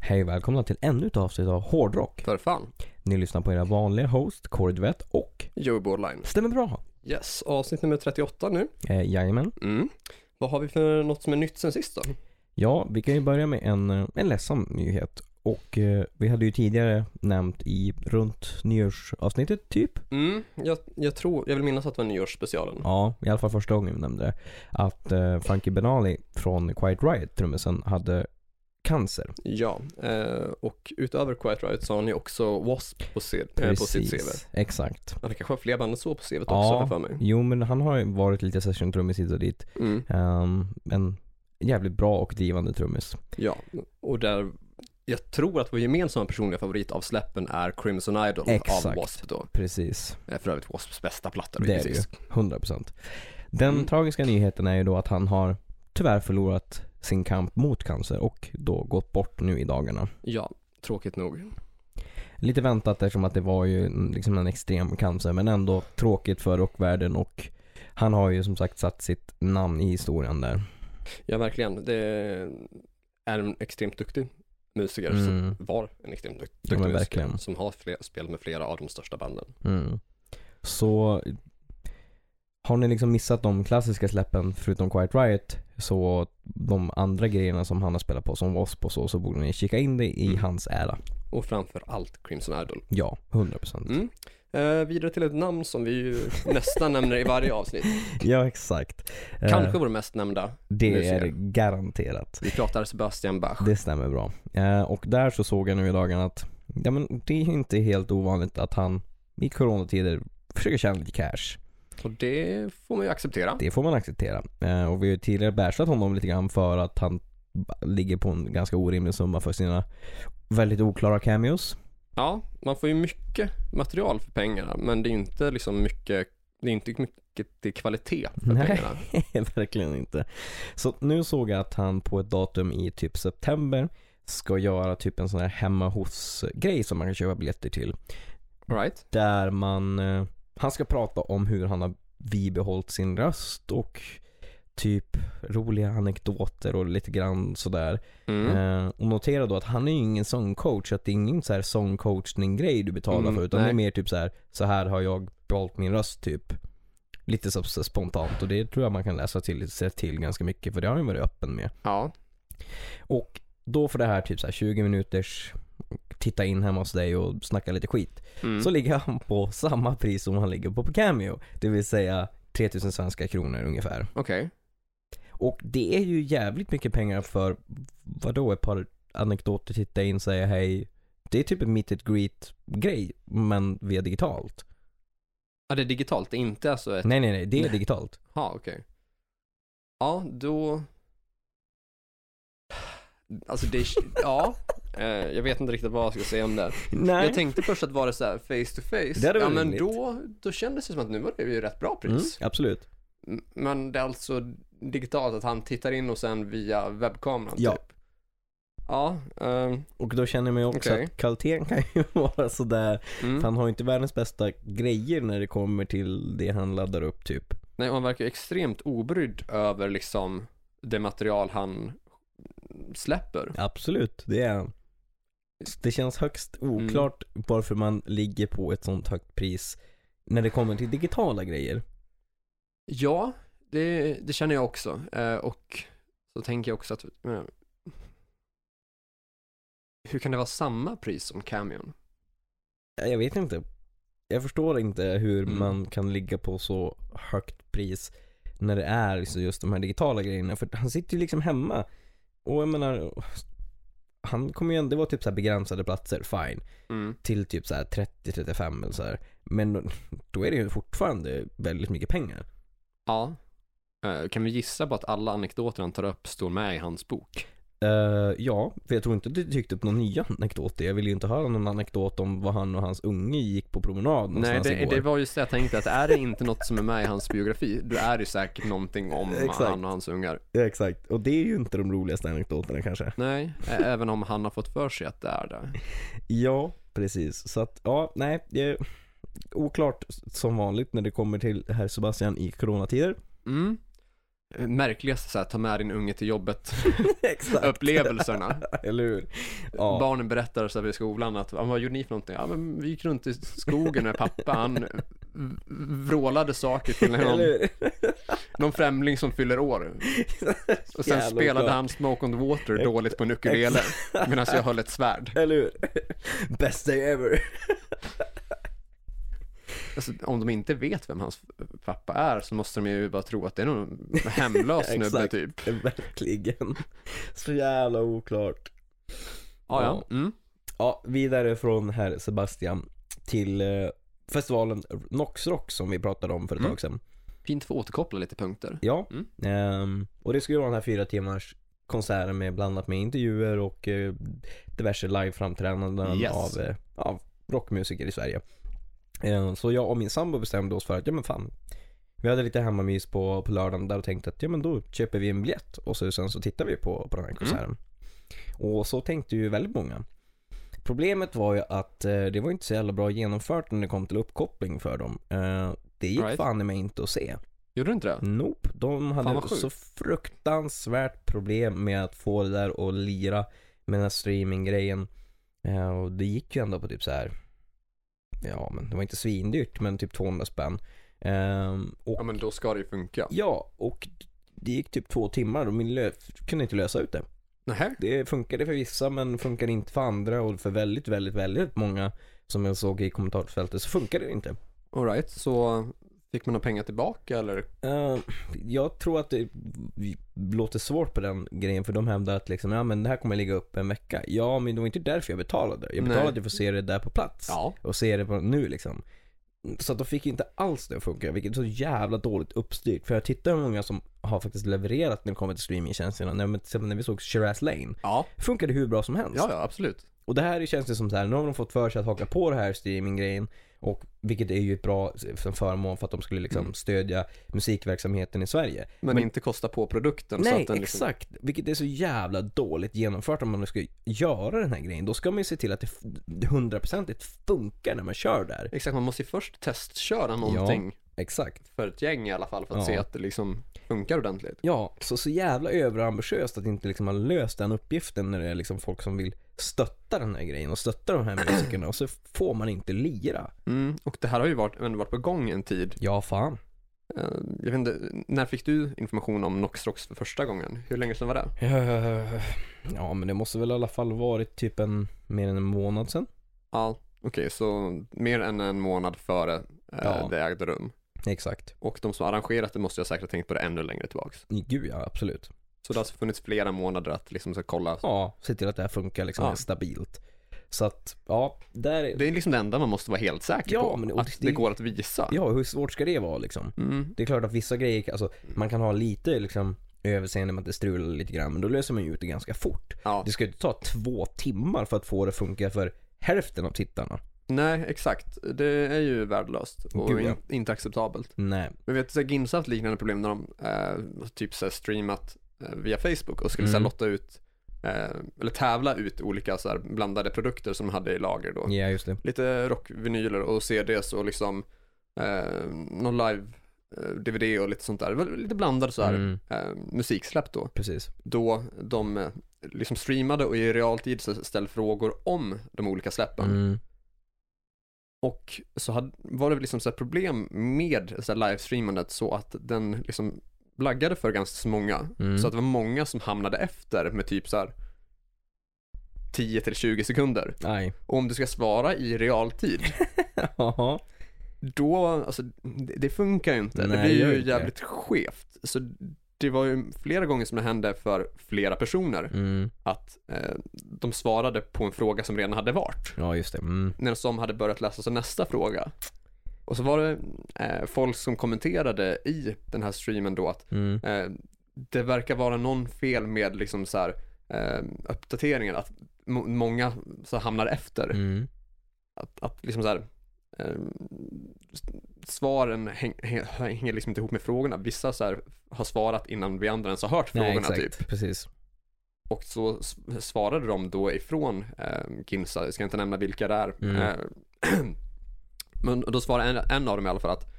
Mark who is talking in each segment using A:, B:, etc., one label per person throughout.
A: Hej och välkomna till ännu ett avsnitt av Hårdrock.
B: För fan.
A: Ni lyssnar på era vanliga host, Kåre Duvett och
B: Joey Borderline.
A: Stämmer bra.
B: Yes, avsnitt nummer 38 nu.
A: Eh, jajamän.
B: Mm. Vad har vi för något som är nytt sen sist då?
A: Ja, vi kan ju börja med en, eh, en ledsam nyhet. Och eh, vi hade ju tidigare nämnt i runt nyårsavsnittet typ.
B: Mm, jag, jag tror, jag vill minnas att det var nyårsspecialen.
A: Ja, i alla fall första gången vi nämnde det. Att eh, Frankie Benali från Quiet Riot, trummisen, hade cancer.
B: Ja, eh, och utöver Quiet Riot så har ni också W.A.S.P. på, se- eh, på sitt CV.
A: Exakt.
B: Ja, det kanske var fler band än så på CVt också,
A: Ja.
B: har jag för mig.
A: Jo, men han har ju varit lite session-trummis hit och dit.
B: Mm.
A: Ehm, en jävligt bra och drivande trummis.
B: Ja, och där, jag tror att vår gemensamma personliga favorit av släppen är Crimson Idol av
A: Exakt.
B: W.A.S.P. då.
A: Precis.
B: Eh, För övrigt W.A.S.P.s bästa platta.
A: Det är det ju.
B: precis.
A: 100%. Den
B: Mm.
A: tragiska nyheten är ju då att han har tyvärr förlorat sin kamp mot cancer och då gått bort nu i dagarna.
B: Ja, tråkigt nog.
A: Lite väntat eftersom att det var ju en- liksom en extrem cancer men ändå tråkigt för rockvärlden och han har ju som sagt satt sitt namn i historien där.
B: Ja, verkligen. Det är en extremt duktig musiker. Som
A: Mm,
B: var en extremt dukt-
A: Ja, men
B: duktig musiker.
A: verkligen.
B: Som har fler, spelat med flera av de största banden.
A: mm. Så har ni liksom missat de klassiska släppen förutom Quiet Riot så de andra grejerna som han har spelat på som W.A.S.P och så, så borde ni kika in det i
B: Mm.
A: hans ära.
B: Och framför allt Crimson Idol.
A: Ja, 100%.
B: Mm. Eh, vidare till ett namn som vi ju nästan nämner i varje avsnitt.
A: Ja, exakt. Eh,
B: Kanske vår mest nämnda.
A: det
B: musiker.
A: är garanterat.
B: Vi pratar Sebastian Bach.
A: Det stämmer bra. Eh, och där så såg jag nu i dagarna att ja, men det är ju inte helt ovanligt att han i coronatider försöker tjäna lite cash.
B: Och det får man ju acceptera.
A: Det får man acceptera. Eh, och vi har ju tidigare bärsat honom lite grann för att han b- ligger på en ganska orimlig summa för sina väldigt oklara cameos.
B: Ja, man får ju mycket material för pengarna. Men det är ju inte liksom mycket, det är inte mycket till kvalitet för
A: Nej.
B: pengarna.
A: Verkligen inte. Så nu såg jag att han på ett datum i typ september ska göra typ en sån här hemma hos-grej som man kan köpa biljetter till.
B: All right.
A: där man, eh, han ska prata om hur han har bibehållit sin röst och typ roliga anekdoter och lite grann sådär.
B: Mm.
A: Eh, och notera då att han är ju ingen sångcoach, så att det är ingen så här sångcoachning-grej du betalar
B: Mm,
A: för utan det
B: nej.
A: är mer typ så här, så här har jag behållit min röst typ. Lite så, så spontant och det tror jag man kan läsa till, se till ganska mycket för det har han ju varit öppen med.
B: Ja,
A: Och då får det här typ så här 20 minuters titta in hemma hos dig och snacka lite skit
B: mm.
A: så ligger han på samma pris som han ligger på på Cameo. Det vill säga 3000 svenska kronor ungefär.
B: okej.
A: Och det är ju jävligt mycket pengar för, vadå, ett par anekdoter, titta in, säga hej. Det är typ en meet and greet grej, men via digitalt.
B: Ja, det är digitalt, det är inte alltså ett...
A: Nej nej nej, det är
B: Nej.
A: digitalt.
B: Ja, okej. Ja, då... Alltså det... Ja, eh, jag vet inte riktigt vad jag ska säga om det.
A: Nej.
B: Jag tänkte först att var det så här face to face.
A: Det hade
B: ja,
A: varit
B: men
A: rimligt.
B: då, då kändes det som att nu var det ju rätt bra
A: mm,
B: pris.
A: absolut.
B: M- Men det är alltså digitalt att han tittar in och sen via webbkameran
A: Ja.
B: typ. Ja, ehm,
A: Och då känner man ju också
B: Okej.
A: att kvaliteten kan ju vara sådär.
B: mm.
A: Han har ju inte världens bästa grejer när det kommer till det han laddar upp typ.
B: Nej, och han verkar ju extremt obrydd över liksom det material han släpper.
A: Absolut, det är han. Det känns högst oklart varför man ligger på ett sånt högt pris när det kommer till digitala grejer.
B: Ja, det, det känner jag också. Eh, och så tänker jag också att, jag menar, hur kan det vara samma pris som Cameon?
A: Ja, Jag vet inte. Jag förstår inte hur
B: Mm.
A: man kan ligga på så högt pris när det är liksom just de här digitala grejerna. För han sitter ju liksom hemma. Och jag menar, han kommer ju ändå vara typ så här begränsade platser, fine.
B: Mm.
A: Till typ så här 30-35 eller så här. Men då är det ju fortfarande väldigt mycket pengar.
B: Ja. Eh, kan vi gissa på att alla anekdoter han tar upp står med i hans bok?
A: Eh, ja, för jag tror inte att du tyckte upp några nya anekdoter. Jag ville ju inte höra någon anekdot om vad han och hans unge gick på promenad
B: Nej,
A: någonstans
B: det,
A: igår.
B: det var just det jag tänkte att är det inte något som är med i hans biografi, då är det säkert någonting om
A: Exakt.
B: han och hans ungar.
A: Ja, exakt. Och det är ju inte de roligaste anekdoterna kanske.
B: Nej, ä- även om han har fått för sig att det är det.
A: Ja, precis. Så att, ja, nej. Det är oklart som vanligt när det kommer till herr Sebastian i coronatider.
B: Mm. eh, märkligaste så här, ta med din unge till jobbet
A: Exakt.
B: upplevelserna.
A: Eller hur? Ja.
B: Barnen berättar så här vid skolan att, "Ah, vad gjorde ni för någonting? Ja men vi gick runt i skogen med pappa, han v- vrålade saker till
A: Eller
B: någon,
A: hur?
B: någon främling som fyller år. Och sen
A: Jävla
B: spelade
A: oklart.
B: han Smoke on the Water dåligt på en ukulele medan jag höll ett svärd.
A: Eller hur? Best day ever.
B: Alltså, om de inte vet vem hans pappa är så måste de ju bara tro att det är någon hemlös snubbe
A: Exakt.
B: typ.
A: Verkligen. Så jävla oklart.
B: Ja, ja. Mm.
A: Ja, vidare från herr Sebastian till eh, festivalen Nox Rock som vi pratade om för ett
B: Mm.
A: tag sedan.
B: Fint att få återkoppla lite punkter.
A: Ja,
B: Mm.
A: ehm, och det skulle vara den här fyra timmars konserten med blandat med intervjuer och eh, diverse liveframträdanden
B: Yes.
A: av, eh, av rockmusiker i Sverige. Eh, så jag och min sambo bestämde oss för att, ja men fan. Vi hade lite hemmamys på, på lördagen där och tänkte att ja men då köper vi en biljett och så, sen så tittar vi på, på den här
B: Mm.
A: konserten. Och så tänkte ju väldigt många. Problemet var ju att eh, det var inte så jävla bra genomfört när det kom till uppkoppling för dem. Eh, det gick
B: Right.
A: fan i mig inte att se.
B: Gjorde du inte det?
A: Nope, de
B: Fan,
A: hade
B: vad sjukt.
A: så fruktansvärt problem med att få det där att lira med den här streaminggrejen. Eh, och det gick ju ändå på typ så här. ja men det var inte svindyrt men typ 200 spänn. Ehm, och
B: Ja, men då ska det ju funka.
A: ja, och det gick typ två timmar och min lö- kunde inte lösa ut det.
B: Nähä?
A: Det funkade för vissa men funkade inte för andra och för väldigt, väldigt, väldigt många som jag såg i kommentarsfältet så funkade det inte.
B: Alright, så fick man några pengar tillbaka eller?
A: Eh, jag tror att det låter svårt på den grejen för de hävdar att liksom, ja men det här kommer ligga upp en vecka. Ja men det var inte därför jag betalade. Jag
B: Nej.
A: betalade för att se det där på plats.
B: Ja.
A: Och se det på nu liksom. Så att de fick ju inte alls det att funka, vilket är så jävla dåligt uppstyrt. För jag tittar hur många som har faktiskt levererat när det kommer till streamingtjänsterna. När, men till exempel när vi såg Shiraz Lane,
B: Ja,
A: funkade hur bra som helst.
B: ja, ja absolut.
A: Och det här känns ju som så här, nu har de fått för sig att haka på det här streaminggrejen. Och vilket är ju ett bra eh, förmån för att de skulle liksom
B: Mm.
A: stödja musikverksamheten i Sverige.
B: Men, inte kosta på produkten så
A: nej,
B: att den liksom...
A: exakt. Vilket är så jävla dåligt genomfört om man nu ska göra den här grejen. Då ska man ju se till att det f- hundraprocentigt funkar när man kör där.
B: Exakt, man måste ju först testköra någonting
A: Exakt.
B: för ett gäng i alla fall för att
A: Ja.
B: se att det liksom funkar ordentligt.
A: Ja, så, så jävla överambitiöst att inte liksom ha löst den uppgiften när det är liksom folk som vill stötta den här grejen och stötta de här musikerna och så får man inte lira.
B: Mm, och det här har ju varit, ändå varit på gång en tid.
A: Ja, fan.
B: Eh, Jag vet inte, när fick du information om Noxrox för första gången? Hur länge sedan var det?
A: Eh, Ja men det måste väl i alla fall varit typ en, mer än en månad sedan.
B: Ja, okej, så mer än en månad före eh,
A: Ja.
B: det ägde rum.
A: Exakt.
B: Och de som arrangerat det måste jag säkert ha tänkt på det ännu längre tillbaks.
A: Gud ja, absolut.
B: Så det har alltså funnits flera månader att liksom så kolla.
A: Ja, se till att det här funkar liksom
B: Ja.
A: är stabilt. Så att, ja, där är...
B: Det är liksom det enda man måste vara helt säker
A: Ja,
B: på.
A: men och
B: att
A: det-
B: det går att visa.
A: Ja, hur svårt ska det vara liksom?
B: Mm.
A: Det är klart att vissa grejer, alltså man kan ha lite liksom överseende med att det strular lite grann, men då löser man ju ut det ganska fort.
B: Ja.
A: Det ska ju inte ta två timmar för att få det att funka för hälften av tittarna.
B: Nej, exakt. Det är ju värdelöst och
A: Gud, ja.
B: in, inte acceptabelt.
A: Nej.
B: Men vet du, så här, Ginsa har haft liknande problem när de eh, typ så här, streamat eh, via Facebook och skulle så här,
A: Mm.
B: lotta ut, eh, eller tävla ut olika så här, blandade produkter som de hade i lager då.
A: Ja, just det.
B: Lite rockvinyler och CDs och liksom eh, någon live eh, DVD och lite sånt där. Det var Lite blandade så här
A: Mm,
B: eh, musiksläpp då.
A: precis.
B: Då de eh, liksom streamade och i realtid så ställde frågor om de olika släppen.
A: Mm.
B: Och så hade, var det väl liksom så här problem med så här livestreamandet så att den liksom laggade för ganska så många.
A: Mm.
B: Så att det var många som hamnade efter med typ så här 10 till 20 sekunder.
A: Nej.
B: Och om du ska svara i realtid,
A: Jaha.
B: då, alltså det, det funkar ju inte.
A: Nej,
B: det
A: det
B: blir
A: gör
B: ju
A: inte.
B: jävligt skevt. Så det var ju flera gånger som det hände för flera personer
A: Mm.
B: att eh, de svarade på en fråga som redan hade varit.
A: Ja, just det. Mm.
B: när de hade börjat läsa så nästa fråga. Och så var det eh, folk som kommenterade i den här streamen då att
A: Mm.
B: eh, det verkar vara någon fel med liksom så här, eh, uppdateringen, att mo- många så hamnar efter.
A: Mm.
B: Att, att liksom så här, eh, s- svaren häng, häng, hänger liksom inte ihop med frågorna. Vissa så här har svarat innan vi andra ens har hört
A: Nej,
B: frågorna
A: exakt.
B: typ.
A: Precis.
B: Och så s- svarade de då ifrån eh, Ginsa, jag ska inte nämna vilka det är.
A: Mm.
B: Eh, men då svarade en, en av dem i alla fall att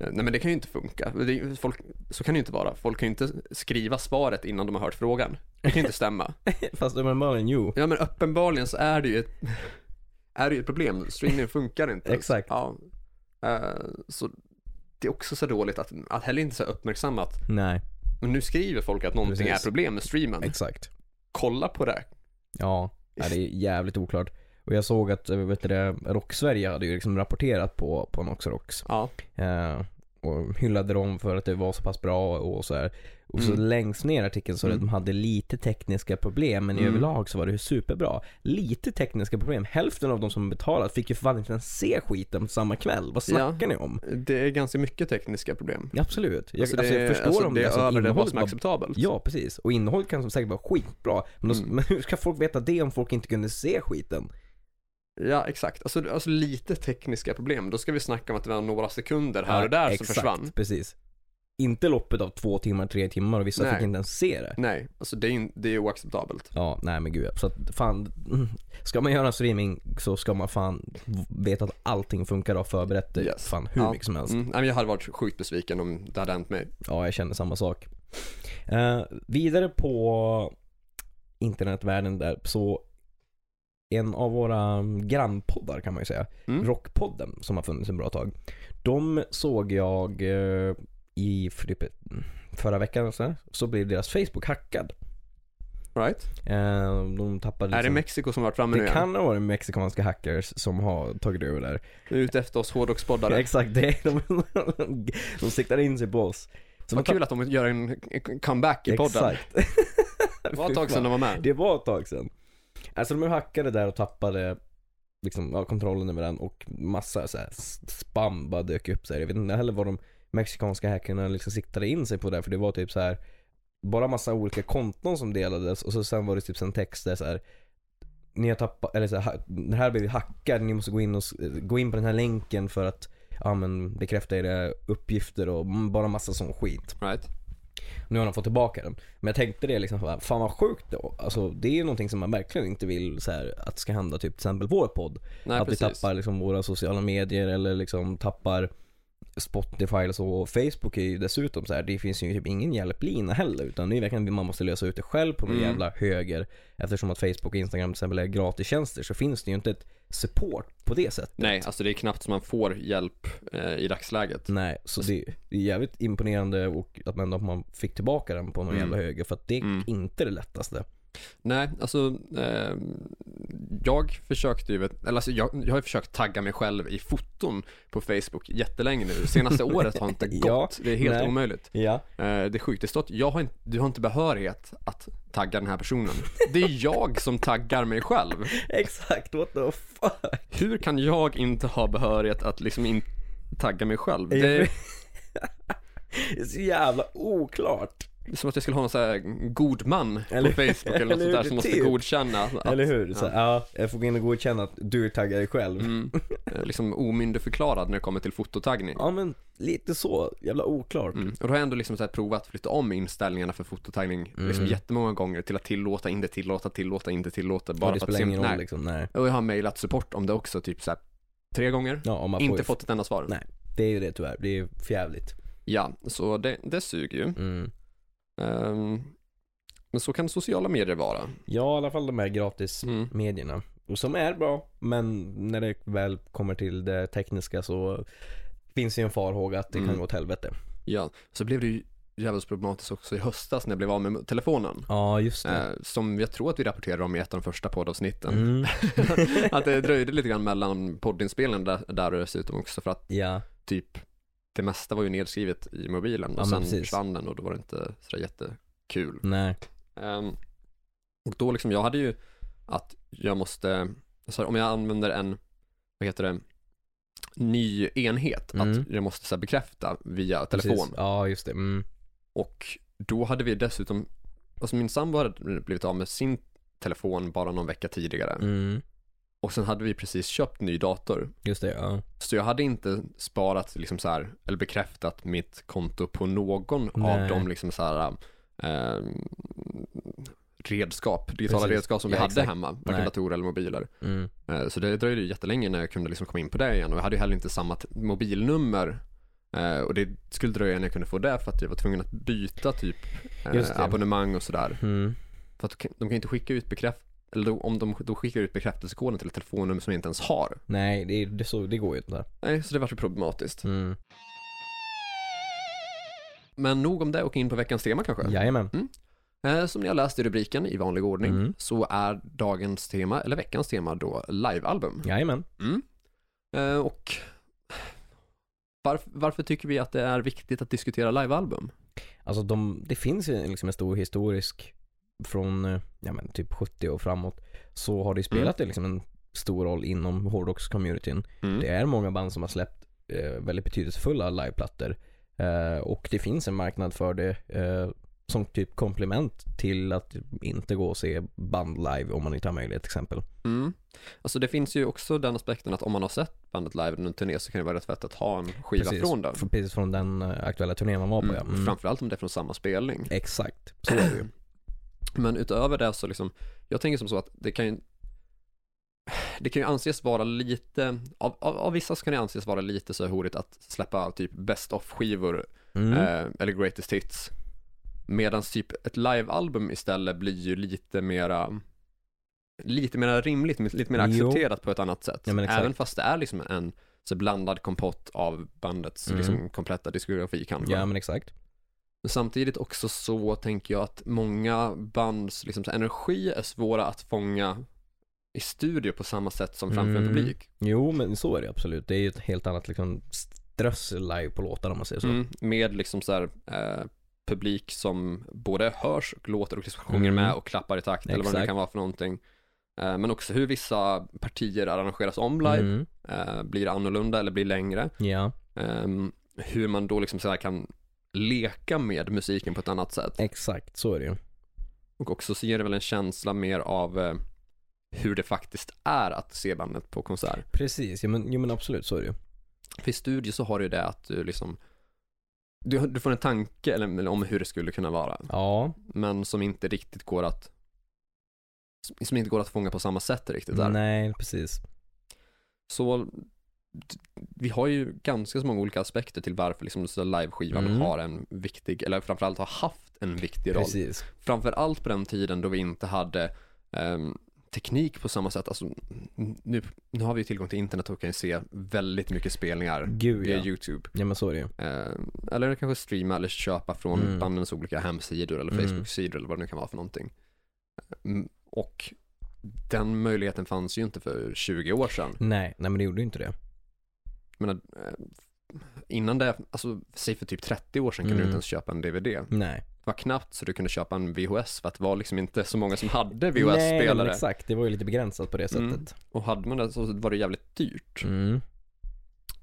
B: Eh, Nej men det kan ju inte funka. Det, folk, så kan det ju inte vara. Folk kan ju inte skriva svaret innan de har hört frågan. Det kan ju inte stämma.
A: Fast uppenbarligen jo.
B: Ja men uppenbarligen så är det ju ett, är det ju ett problem. Streaming funkar inte.
A: Exakt.
B: Ja. Eh, så det är också så dåligt att, att heller inte så uppmärksammat.
A: Nej,
B: Men nu skriver folk att någonting
A: Precis.
B: är problem med streamen.
A: exakt.
B: Kolla på det.
A: Ja, ja, det är jävligt oklart. Och jag såg att eh, vet du, det, Rock-Sverige hade ju liksom rapporterat på, på Nox Rocks.
B: Ja.
A: Eh, och hyllade dem för att det var så pass bra och så här. Och så
B: Mm.
A: längst ner i artikeln så är det att de hade lite tekniska problem men i
B: Mm.
A: överlag så var det ju superbra. Lite tekniska problem. Hälften av de som betalat fick ju för fan inte ens se skiten samma kväll. Vad snackar ni om?
B: Det är ganska mycket tekniska problem.
A: Absolut. Jag, alltså,
B: det,
A: jag förstår
B: alltså,
A: om
B: det är
A: alltså,
B: över det vad
A: innehållet
B: som är
A: var-
B: acceptabelt.
A: Ja, precis. Och innehållet kan som säkert vara skitbra. Men,
B: Mm.
A: då, men hur ska folk veta det om folk inte kunde se skiten?
B: Ja, exakt. Alltså, alltså lite tekniska problem. Då ska vi snacka om att det var några sekunder här
A: Ja,
B: och där
A: exakt,
B: som försvann.
A: precis. Inte loppet av två timmar, tre timmar och vissa
B: Nej.
A: fick inte ens se det.
B: Nej, alltså det är, ju- det är oacceptabelt.
A: Ja, nej men gud ja. Så att fan, mm, ska man göra streaming så ska man fan veta att allting funkar och ha förberett det
B: Yes.
A: fan hur
B: Ja.
A: mycket som helst.
B: Mm, nej, men jag hade varit sjukt besviken om det hade hänt mig.
A: Ja, jag känner samma sak. Eh, vidare på internetvärlden där så en av våra grannpoddar kan man ju säga,
B: Mm.
A: Rockpodden som har funnits ett bra tag. De såg jag eh, i för typ förra veckan eller så, där, så blev deras Facebook hackad.
B: Right?
A: Eh, de tappade
B: Är det
A: liksom-
B: Mexiko som har varit framme nu
A: Det
B: igen?
A: kan ha varit mexikanska hackers som har tagit över där.
B: Du är ute efter oss hårdrockspoddare.
A: Exakt, det. De, de, de siktar in sig på oss. Så
B: Vad
A: de
B: kul att de gör en comeback i
A: tappar-
B: podden.
A: Exakt.
B: Det var
A: Fy
B: ett tag
A: fan.
B: sedan de var med.
A: Det var ett tag sedan. Alltså de hackade där och tappade liksom, ja, kontrollen över den och massa så här, s- spam bara dök upp. Så här. Jag vet inte heller vad de mexikanska hackarna liksom siktade in sig på där för det var typ så här bara massa olika konton som delades och så sen var det typ en text där så här ni har tappat, eller så här, ha- den här blev hackad, ni måste gå in, och, s- gå in på den här länken för att ja, men, bekräfta era uppgifter och mm, bara massa sån skit.
B: Right?
A: Nu har de fått tillbaka den. Men jag tänkte det liksom, bara, fan vad sjukt då. Alltså det är ju någonting som man verkligen inte vill så här, att ska hända typ till exempel vår podd.
B: Nej,
A: att vi
B: precis.
A: tappar liksom våra sociala medier eller liksom tappar Spotify eller så. Och Facebook är ju dessutom så här, det finns ju typ ingen hjälplina heller. Utan det är verkligen man måste lösa ut det själv på någon
B: Mm.
A: jävla höger. Eftersom att Facebook och Instagram till exempel är gratistjänster så finns det ju inte ett support på det sättet.
B: Nej, alltså det är knappt som man får hjälp eh, i dagsläget.
A: Nej, så det det är jävligt imponerande och att man, ändå- att man fick tillbaka den på någon
B: Mm.
A: jävla höger för att det är
B: Mm.
A: inte det lättaste.
B: Nej, alltså eh, jag försökte ju, eller alltså jag, jag har ju försökt tagga mig själv i foton på Facebook jättelänge nu. Senaste året har inte gått.
A: Ja,
B: det är helt
A: nej.
B: omöjligt.
A: Ja.
B: Eh, det är sjukt. Det står att jag har inte, du har inte behörighet att tagga den här personen. Det är jag som taggar mig själv.
A: Exakt, what the fuck.
B: Hur kan jag inte ha behörighet att liksom in, tagga mig själv? Det är
A: Det är så jävla oklart.
B: som att jag skulle ha någon sån här god man
A: Eller-
B: på Facebook eller
A: eller
B: något
A: hur,
B: sånt där som måste
A: typ.
B: godkänna. Att,
A: Eller hur? Så, ja, jag får gå in och godkänna att du taggar dig själv.
B: Mm, eh, liksom omyndigförklarad när det kommer till fototaggning.
A: Ja men lite så, jävla oklart.
B: Mm. Och då har jag ändå liksom så här provat flytta om inställningarna för fototaggning
A: Mm.
B: liksom jättemånga gånger till att tillåta, inte tillåta, tillåta, inte tillåta.
A: Bara
B: Bara
A: det
B: för att
A: spelar
B: se om,
A: ingen roll
B: nej.
A: liksom, nej.
B: Och jag har mejlat support om det också typ så här tre gånger.
A: Ja, om man får
B: inte
A: ju-
B: fått ett enda svar.
A: Nej. Det är ju det tyvärr, det är ju förjävligt.
B: Ja, så det, det suger ju.
A: Mm.
B: Ehm, men så kan sociala medier vara.
A: Ja i alla fall de här gratis
B: Mm.
A: medierna. Och som är bra, men när det väl kommer till det tekniska så finns det ju en farhåga att det
B: Mm.
A: kan gå åt helvete.
B: Ja, så blev det ju jävligt problematiskt också i höstas när jag blev av med telefonen.
A: Ja just
B: Eh, som jag tror att vi rapporterade om i ett av de första poddavsnitten.
A: Mm.
B: att det dröjde lite grann mellan poddinspelningen där, där och dessutom också för att
A: Ja,
B: typ det mesta var ju nedskrivet i mobilen och
A: Ja, men
B: sen
A: precis.
B: försvann den och då var det inte sådär jättekul.
A: nej.
B: Ehm, och då liksom, jag hade ju att jag måste, så här, om jag använder en, vad heter det, ny enhet,
A: Mm.
B: att jag måste så här, bekräfta via
A: Precis.
B: telefon.
A: Ja just det. Mm.
B: Och då hade vi dessutom, alltså min sambo hade blivit av med sin telefon bara någon vecka tidigare.
A: Mm.
B: Och sen hade vi precis köpt ny dator.
A: Just det, ja.
B: Så jag hade inte sparat liksom så här, eller bekräftat mitt konto på någon
A: Nej.
B: av de liksom så här, ehm, redskap, digitala
A: Precis.
B: redskap som vi
A: Ja,
B: hade
A: exakt.
B: hemma, varken
A: Nej.
B: datorer eller mobiler.
A: Mm.
B: Eh, Så det dröjde ju jättelänge när jag kunde liksom komma in på det igen och jag hade ju heller inte samma t- mobilnummer Eh, och det skulle dröja innan jag kunde få det för att jag var tvungen att byta typ
A: Just
B: eh,
A: det.
B: abonnemang och sådär.
A: Mm.
B: För att de kan inte skicka ut bekräft eller då, om de då skickar ut bekräftelsekoden till ett telefonnummer som jag inte ens har.
A: Nej, det, det, så, det går ju inte.
B: Nej, så det var så problematiskt.
A: Mm.
B: Men nog om det och in på veckans tema kanske.
A: Jajamän.
B: Eh, Som ni har läst i rubriken i vanlig ordning
A: Mm.
B: så är dagens tema, eller veckans tema då, livealbum.
A: Jajamän.
B: Mm. Eh, Och varför, varför tycker vi att det är viktigt att diskutera livealbum?
A: Alltså de, det finns ju liksom en stor historisk från eh, ja, men typ 70 och framåt så har det ju spelat liksom en stor roll inom hårdrockscommunityn.
B: Mm.
A: Det är många band som har släppt eh, väldigt betydelsefulla liveplattor eh, och det finns en marknad för det eh, som typ komplement till att inte gå och se band live om man inte har möjlighet till exempel.
B: Mm. Alltså det finns ju också den aspekten att om man har sett bandet live under en turné så kan det vara rätt fett att ha en skiva
A: Precis.
B: från den.
A: F- Precis från den eh, aktuella turnén man var på
B: Mm.
A: ja. Mm.
B: Framförallt om det är från samma spelning.
A: Exakt, så är det ju.
B: Men utöver det så liksom, jag tänker som så att det kan ju det kan ju anses vara lite, av, av, av vissa så kan det anses vara lite så här horigt att släppa typ best of skivor
A: Mm.
B: eh, eller greatest hits. Medan typ ett livealbum istället blir ju lite mera, lite mera rimligt, lite mer
A: Jo.
B: accepterat på ett annat sätt.
A: Ja, men exakt.
B: Även fast det är liksom en så blandad kompott av bandets
A: Mm.
B: liksom, kompletta diskografi kanske.
A: Ja men exakt.
B: Men samtidigt också så tänker jag att många bands liksom, så här energi är svåra att fånga i studio på samma sätt som framför en
A: Mm.
B: publik.
A: Jo men så är det absolut. Det är ju ett helt annat liksom strössel live på låtar om man säger så.
B: Mm, med liksom så här, eh, publik som både hörs och låter och liksom sjunger
A: Mm.
B: med och klappar i takt eller vad det nu
A: Exakt.
B: kan vara för någonting. Eh, men också hur vissa partier arrangeras om live,
A: Mm.
B: eh, blir annorlunda eller blir längre.
A: Ja,
B: Eh, hur man då liksom så här kan leka med musiken på ett annat sätt.
A: exakt så är det ju.
B: Och också så ger det väl en känsla mer av eh, hur det faktiskt är att se bandet på konsert.
A: Precis, ja, men, jo men absolut så är det ju.
B: För i studio så har du ju det att du liksom du, du får en tanke eller, eller om hur det skulle kunna vara,
A: Ja,
B: men som inte riktigt går att som- som inte går att fånga på samma sätt riktigt där.
A: nej precis.
B: Så d- vi har ju ganska så många olika aspekter till varför liksom så liveskivan
A: Mm.
B: har en viktig, eller framförallt har haft en viktig roll.
A: Precis.
B: framförallt på den tiden då vi inte hade ehm, teknik på samma sätt. Alltså, n- nu, nu har vi ju tillgång till internet och kan ju se väldigt mycket spelningar
A: Gud
B: via
A: ja.
B: YouTube.
A: Ja men så är det ju.
B: Ehm, eller kanske streama eller köpa från
A: Mm.
B: bandens olika hemsidor eller
A: Mm.
B: Facebook-sidor eller vad det nu kan vara för någonting. Mm, och den möjligheten fanns ju inte för 20 år sedan.
A: Nej, nej men det gjorde ju inte det.
B: Jag menar, eh, innan det, alltså säg för typ 30 år sedan kunde du
A: Mm.
B: inte ens köpa en DVD. Det
A: Nej.
B: var knappt så du kunde köpa en VHS för att det var liksom inte så många som hade
A: Nej men
B: VHS-spelare.
A: exakt, det var ju lite begränsat på det
B: Mm.
A: sättet.
B: Och hade man det så var det jävligt dyrt.
A: Mm.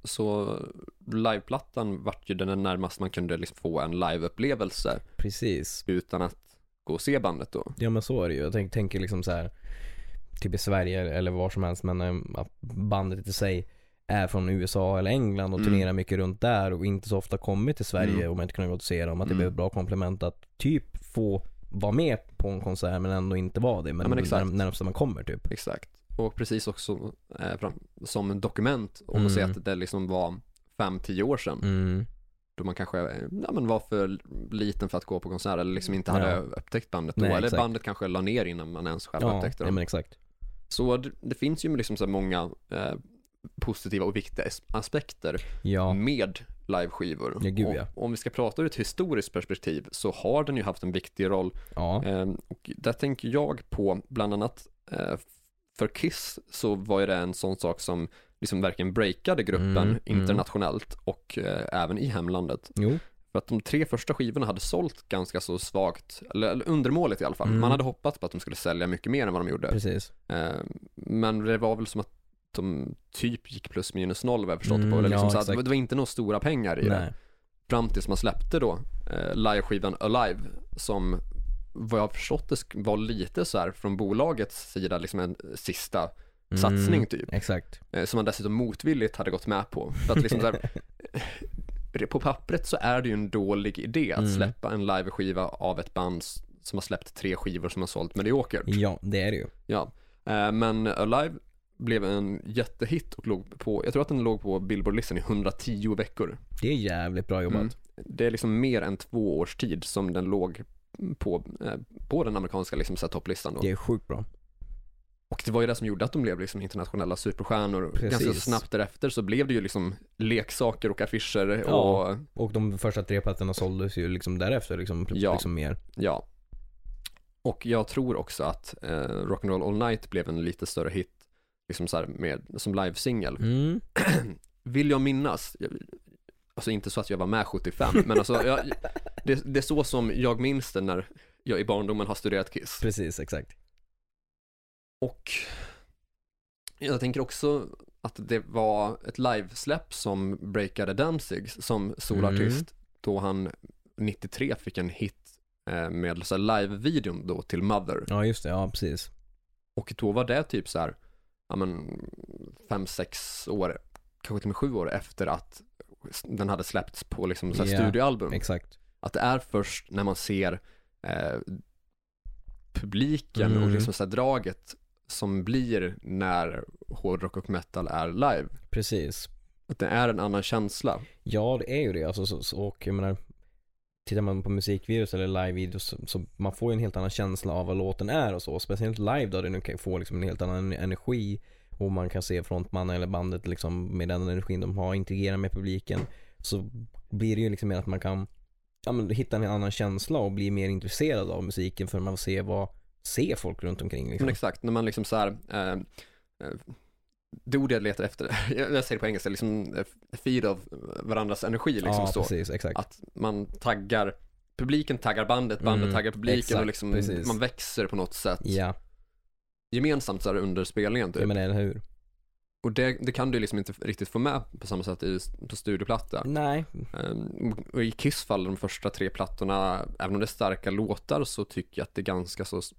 B: Så liveplattan vart ju den närmast man kunde liksom få en liveupplevelse
A: Precis.
B: utan att gå och se bandet då.
A: Ja men så är det ju. Jag tänk, tänker liksom så här typ i Sverige eller var som helst men eh, att bandet i sig är från USA eller England och
B: Mm.
A: turnerar mycket runt där och inte så ofta kommit till Sverige
B: Mm.
A: och man inte kunnat gå och se dem. Att det
B: Mm.
A: blir ett bra komplement att typ få vara med på en konsert men ändå inte vara det. Men,
B: Ja, men exakt.
A: när, närmast man kommer typ.
B: Exakt. Och precis också eh, fram, som en dokument om
A: Mm.
B: att säga att det liksom var 5-10 år sedan
A: Mm.
B: då man kanske eh, ja, men var för liten för att gå på konsert eller liksom inte hade
A: Ja.
B: upptäckt bandet då.
A: Nej,
B: eller
A: exakt.
B: bandet kanske la ner innan man ens själv
A: Ja,
B: upptäckte
A: ja
B: dem.
A: men exakt.
B: Så det, det finns ju liksom så här många eh, positiva och viktiga as- aspekter
A: Ja.
B: med liveskivor.
A: Ja, gud,
B: Och-
A: ja.
B: Om vi ska prata ur ett historiskt perspektiv så har den ju haft en viktig roll.
A: Ja.
B: Ehm, Och där tänker jag på bland annat eh, för Kiss så var ju det en sån sak som liksom verkligen breakade gruppen
A: Mm, mm.
B: internationellt och eh, även i hemlandet.
A: Jo.
B: För att de tre första skivorna hade sålt ganska så svagt, eller, eller undermåligt i alla fall.
A: Mm.
B: Man hade hoppats på att de skulle sälja mycket mer än vad de gjorde.
A: Precis.
B: Eh, Men det var väl som att de typ gick plus minus noll vad jag förstått det på.
A: Mm,
B: Eller liksom
A: ja,
B: så att det
A: exakt.
B: var- det var inte några stora pengar i det.
A: Nej.
B: Fram tills man släppte då eh, liveskivan Alive som vad jag har förstått det sk- var lite så här från bolagets sida liksom en sista
A: Mm.
B: satsning typ.
A: Exakt.
B: Eh, som man dessutom motvilligt hade gått med på. För att liksom så här, eh, på pappret så är det ju en dålig idé att
A: Mm.
B: släppa en liveskiva av ett band s- som har släppt tre skivor som har sålt mediokert.
A: Ja, det är det ju.
B: Ja, eh, men Alive blev en jättehit och låg på, jag tror att den låg på Billboard-listan i 110 veckor.
A: Det är jävligt bra jobbat.
B: Mm. Det är liksom mer än två års tid som den låg på, eh, på den amerikanska liksom, så här, topplistan. Då.
A: Det är sjukt bra.
B: Och det var ju det som gjorde att de blev liksom internationella superstjärnor.
A: Precis.
B: Ganska snabbt därefter så blev det ju liksom leksaker och affischer
A: Ja.
B: och
A: Och de första tre plattorna såldes ju liksom därefter liksom,
B: Ja.
A: liksom mer.
B: ja. Och jag tror också att eh, Rock'n'Roll All Night blev en lite större hit liksom så här med, som livesingel.
A: Mm.
B: Vill jag minnas, jag, alltså inte så att jag var med 75, men alltså jag, det, det är så som jag minns det när jag i barndomen har studerat Kiss.
A: Precis, exakt.
B: Och jag tänker också att det var ett livesläpp som breakade Danzig som solartist
A: Mm.
B: då han 93 fick en hit eh, med så här live-videon då till Mother.
A: Ja, just det. Ja, precis.
B: Och då var det typ så här, ja men fem, sex år, kanske till och med sju år efter att den hade släppts på liksom så här
A: Ja,
B: studioalbum.
A: Exakt.
B: Att det är först när man ser eh, publiken och
A: Mm.
B: liksom så här draget som blir när hårdrock och metal är live.
A: Precis.
B: Att det är en annan känsla.
A: Ja, det är ju det. Alltså, så, så, och jag menar, tittar man på musikvideos eller livevideos så, så man får ju en helt annan känsla av vad låten är och så. Speciellt live då, det nu kan få liksom en helt annan energi och man kan se frontmannen eller bandet liksom med den energin de har integrera med publiken. Så blir det ju liksom mer att man kan ja, men, hitta en annan känsla och bli mer intresserad av musiken för man ser vad ser folk runt omkring liksom.
B: Men exakt, när man liksom så här, eh, eh, det ord jag letar efter, jag säger det på engelska, liksom eh, feed av varandras energi liksom
A: ja,
B: så.
A: precis, exakt.
B: Att man taggar, publiken taggar bandet, bandet
A: Mm,
B: taggar publiken
A: exakt,
B: och liksom
A: precis.
B: man växer på något sätt
A: Ja,
B: gemensamt så här under spelningen typ.
A: jag menar eller hur?
B: Och det, det kan du liksom inte riktigt få med på samma sätt i, på studioplatta.
A: Nej,
B: Ehm, och i Kiss fall, de första tre plattorna, även om det är starka låtar så tycker jag att det är ganska så s-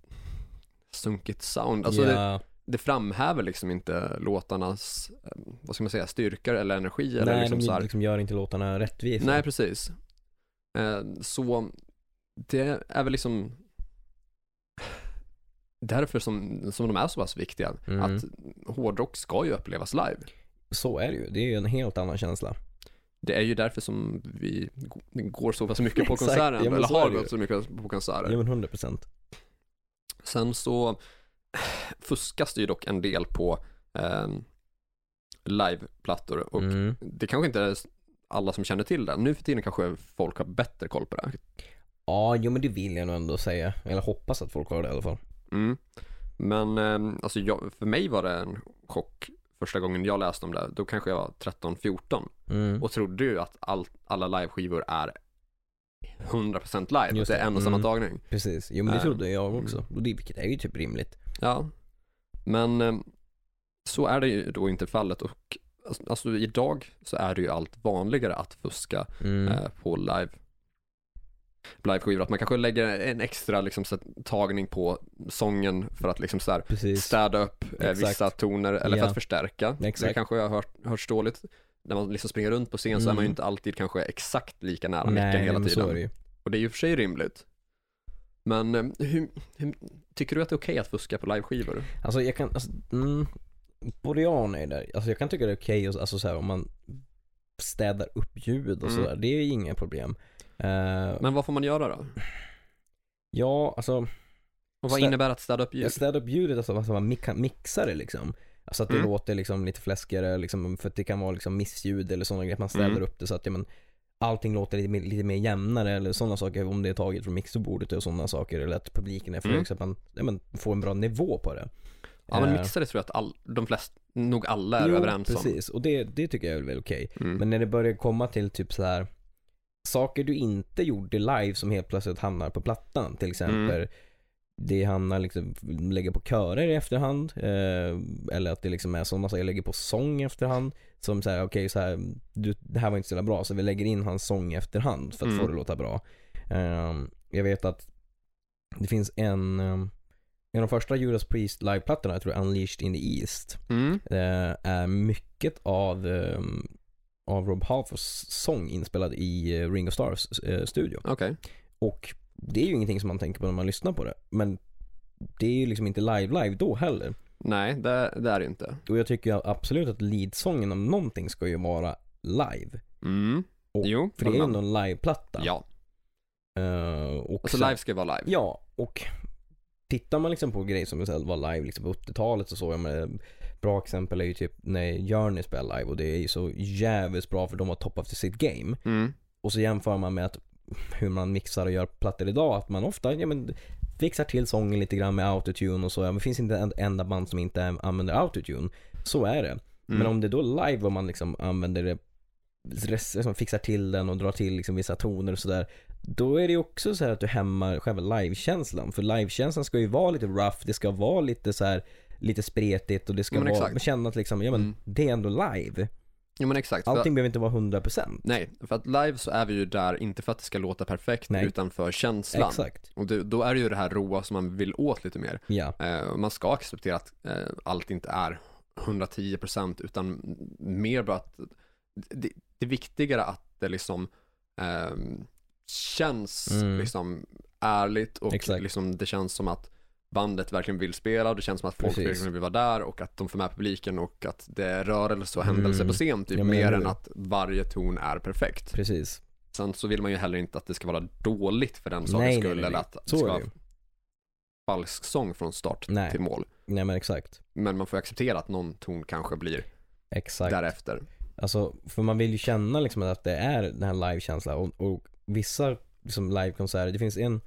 B: sunkigt sound. Alltså det,
A: ja,
B: det framhäver liksom inte låtarnas, ehm, vad ska man säga, styrkor eller energi eller
A: nej
B: liksom så
A: de
B: här.
A: liksom gör inte låtarna rättvisa.
B: Nej, precis. Ehm, så det är väl liksom därför som, som de är så pass viktiga.
A: Mm.
B: Att hårdrock ska ju upplevas live.
A: Så är det ju. Det är ju en helt annan känsla.
B: Det är ju därför som vi g- går så pass mycket på
A: Exakt,
B: konserter,
A: ja, men
B: eller
A: så är
B: har
A: det ju.
B: gått så mycket på konserter.
A: Ja men 100 procent.
B: Sen så fuskas det ju dock en del på eh, liveplattor och
A: Mm.
B: det kanske inte är alla som känner till det. Nu för tiden kanske folk har bättre koll på det.
A: Ja, jo men det vill jag nog ändå säga. Eller hoppas att folk har det i alla fall.
B: Mm. Men eh, alltså jag, för mig var det en chock första gången jag läste om det. Då kanske jag var 13-14
A: Mm.
B: och trodde ju att all, alla liveskivor är 100% live.
A: Just
B: det är
A: det.
B: en och samma
A: Mm.
B: dagning.
A: Precis. Jo men det
B: Äh.
A: trodde jag också. Och det, vilket är ju typ rimligt.
B: Ja, men eh, så är det ju då inte fallet och alltså, alltså idag så är det ju allt vanligare att fuska
A: Mm.
B: eh, på live liveskivor, att man kanske lägger en extra liksom, så här, tagning på sången för att liksom så här,
A: Precis.
B: städa upp eh,
A: Exakt.
B: vissa toner eller för
A: Ja.
B: att förstärka.
A: Exakt.
B: Det kanske har hört, hörts dåligt. När man liksom springer runt på scen så är
A: Mm.
B: man ju inte alltid kanske exakt lika nära
A: Nej,
B: micken hela
A: men
B: tiden.
A: så är det ju.
B: Och det är ju för sig rimligt. Men eh, hur, hur, tycker du att det är okej att fuska på liveskivor?
A: Alltså jag kan, alltså, mm, både jag och nej där. Alltså jag kan tycka det är okej och alltså, så här, om man städar upp ljud och
B: Mm.
A: sådär. Det är ju inga problem. Eh,
B: Men vad får man göra då?
A: ja, alltså
B: Och vad
A: Stä-
B: innebär att städa upp ljud?
A: jag städar upp ljudet, alltså alltså, man mika- mixar det liksom. Alltså att det
B: Mm.
A: låter liksom lite fläskigare liksom, för att det kan vara liksom missljud eller sådana grejer. Man städar
B: Mm.
A: upp det så att ja, men, allting låter lite, mer- lite mer jämnare eller sådana saker. Om det är taget från mixerbordet och sådana saker. Eller att publiken är för
B: Mm.
A: hög så att man ja, men, får en bra nivå på det.
B: Ja men
A: Eh,
B: mixade tror jag att all, de flesta, nog alla är
A: jo,
B: överens om.
A: precis. Och det, det tycker jag är väl okej.
B: Mm.
A: Men när det börjar komma till typ så här saker du inte gjorde live som helt plötsligt hamnar på plattan. Till exempel
B: Mm.
A: det hamnar liksom, lägger på körer i efterhand. Eh, eller att det liksom är sådana saker, jag lägger på sång i efterhand. Som så här, okej så här, du, det här var inte så jävla bra så vi lägger in hans sång i efterhand för att få
B: Mm.
A: det att låta bra. Eh, jag vet att det finns en, eh, en av de första Judas Priest liveplattorna, jag tror Unleashed in the East
B: Mm.
A: eh, är mycket av, eh, av Rob Halfords sång inspelad i eh, Ring of Stars eh, studio.
B: Okej.
A: Och det är ju ingenting som man tänker på när man lyssnar på det. Men det är ju liksom inte live-live då heller.
B: Nej, det, det är det inte.
A: Och jag tycker ju absolut att leadsången om någonting ska ju vara live.
B: Mm.
A: Och-
B: jo,
A: För det är ju
B: men-
A: ändå en liveplatta.
B: Ja,
A: Eh, och
B: alltså
A: sen-
B: live ska ju vara live.
A: Ja, och tittar man liksom på grejer som så här var live liksom på 80-talet och så, jag menar, bra exempel är ju typ när Journey spelar live och det är ju så jävligt bra för de har toppat för sitt game.
B: Mm.
A: Och så jämför man med att hur man mixar och gör plattor idag, att man ofta, ja men fixar till sången lite grann med autotune och så, ja, men det finns inte en enda band som inte använder autotune. Så är det. Men
B: Mm.
A: om det då är live och man liksom använder det, res- liksom fixar till den och drar till liksom vissa toner och sådär. Då är det ju också så här att du hämmar själva livekänslan. För livekänslan ska ju vara lite rough, det ska vara lite så här lite spretigt och det ska
B: Ja, men
A: vara,
B: exakt.
A: man känner att liksom, ja men
B: Mm.
A: det är ändå live.
B: Jo men exakt. För,
A: Allting behöver inte vara 100%.
B: nej, för att live så är vi ju där, inte för att det ska låta perfekt,
A: Nej.
B: utan för känslan.
A: Exakt.
B: Och det, då är det ju det här roa som man vill åt lite mer.
A: Ja.
B: Eh, och man ska acceptera att eh, allt inte är 110% utan mer bara att det, det är viktigare att det liksom eh, känns
A: Mm.
B: liksom ärligt och
A: Exakt.
B: liksom det känns som att bandet verkligen vill spela och det känns som att folk
A: Precis.
B: verkligen vill vara där och att de får med publiken och att det är rörelse och händelse
A: Mm.
B: på scen typ
A: Ja, men
B: mer
A: eller
B: än
A: hur?
B: att varje ton är perfekt.
A: Precis.
B: Sen så vill man ju heller inte att det ska vara dåligt för den sakens
A: Nej, nej,
B: skull
A: nej, nej.
B: eller att det
A: Så
B: ska
A: är det
B: vara
A: ju.
B: falsk sång från start
A: Nej.
B: till mål.
A: Nej men exakt.
B: Men man får acceptera att någon ton kanske blir
A: Exakt.
B: därefter.
A: Alltså, för man vill ju känna liksom att det är den här livekänslan och, och vissa liksom livekonserter, det finns en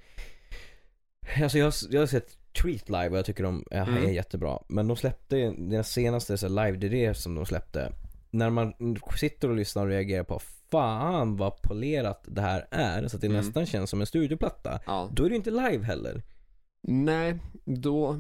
A: Alltså jag, har- jag har sett Treat live och jag tycker de är,
B: Mm.
A: är jättebra. Men de släppte, deras senaste så här live-DVD som de släppte. När man sitter och lyssnar och reagerar på Fan vad polerat det här är. Så att det
B: Mm.
A: nästan känns som en studioplatta.
B: Ja.
A: Då är det ju inte live heller.
B: Nej, då,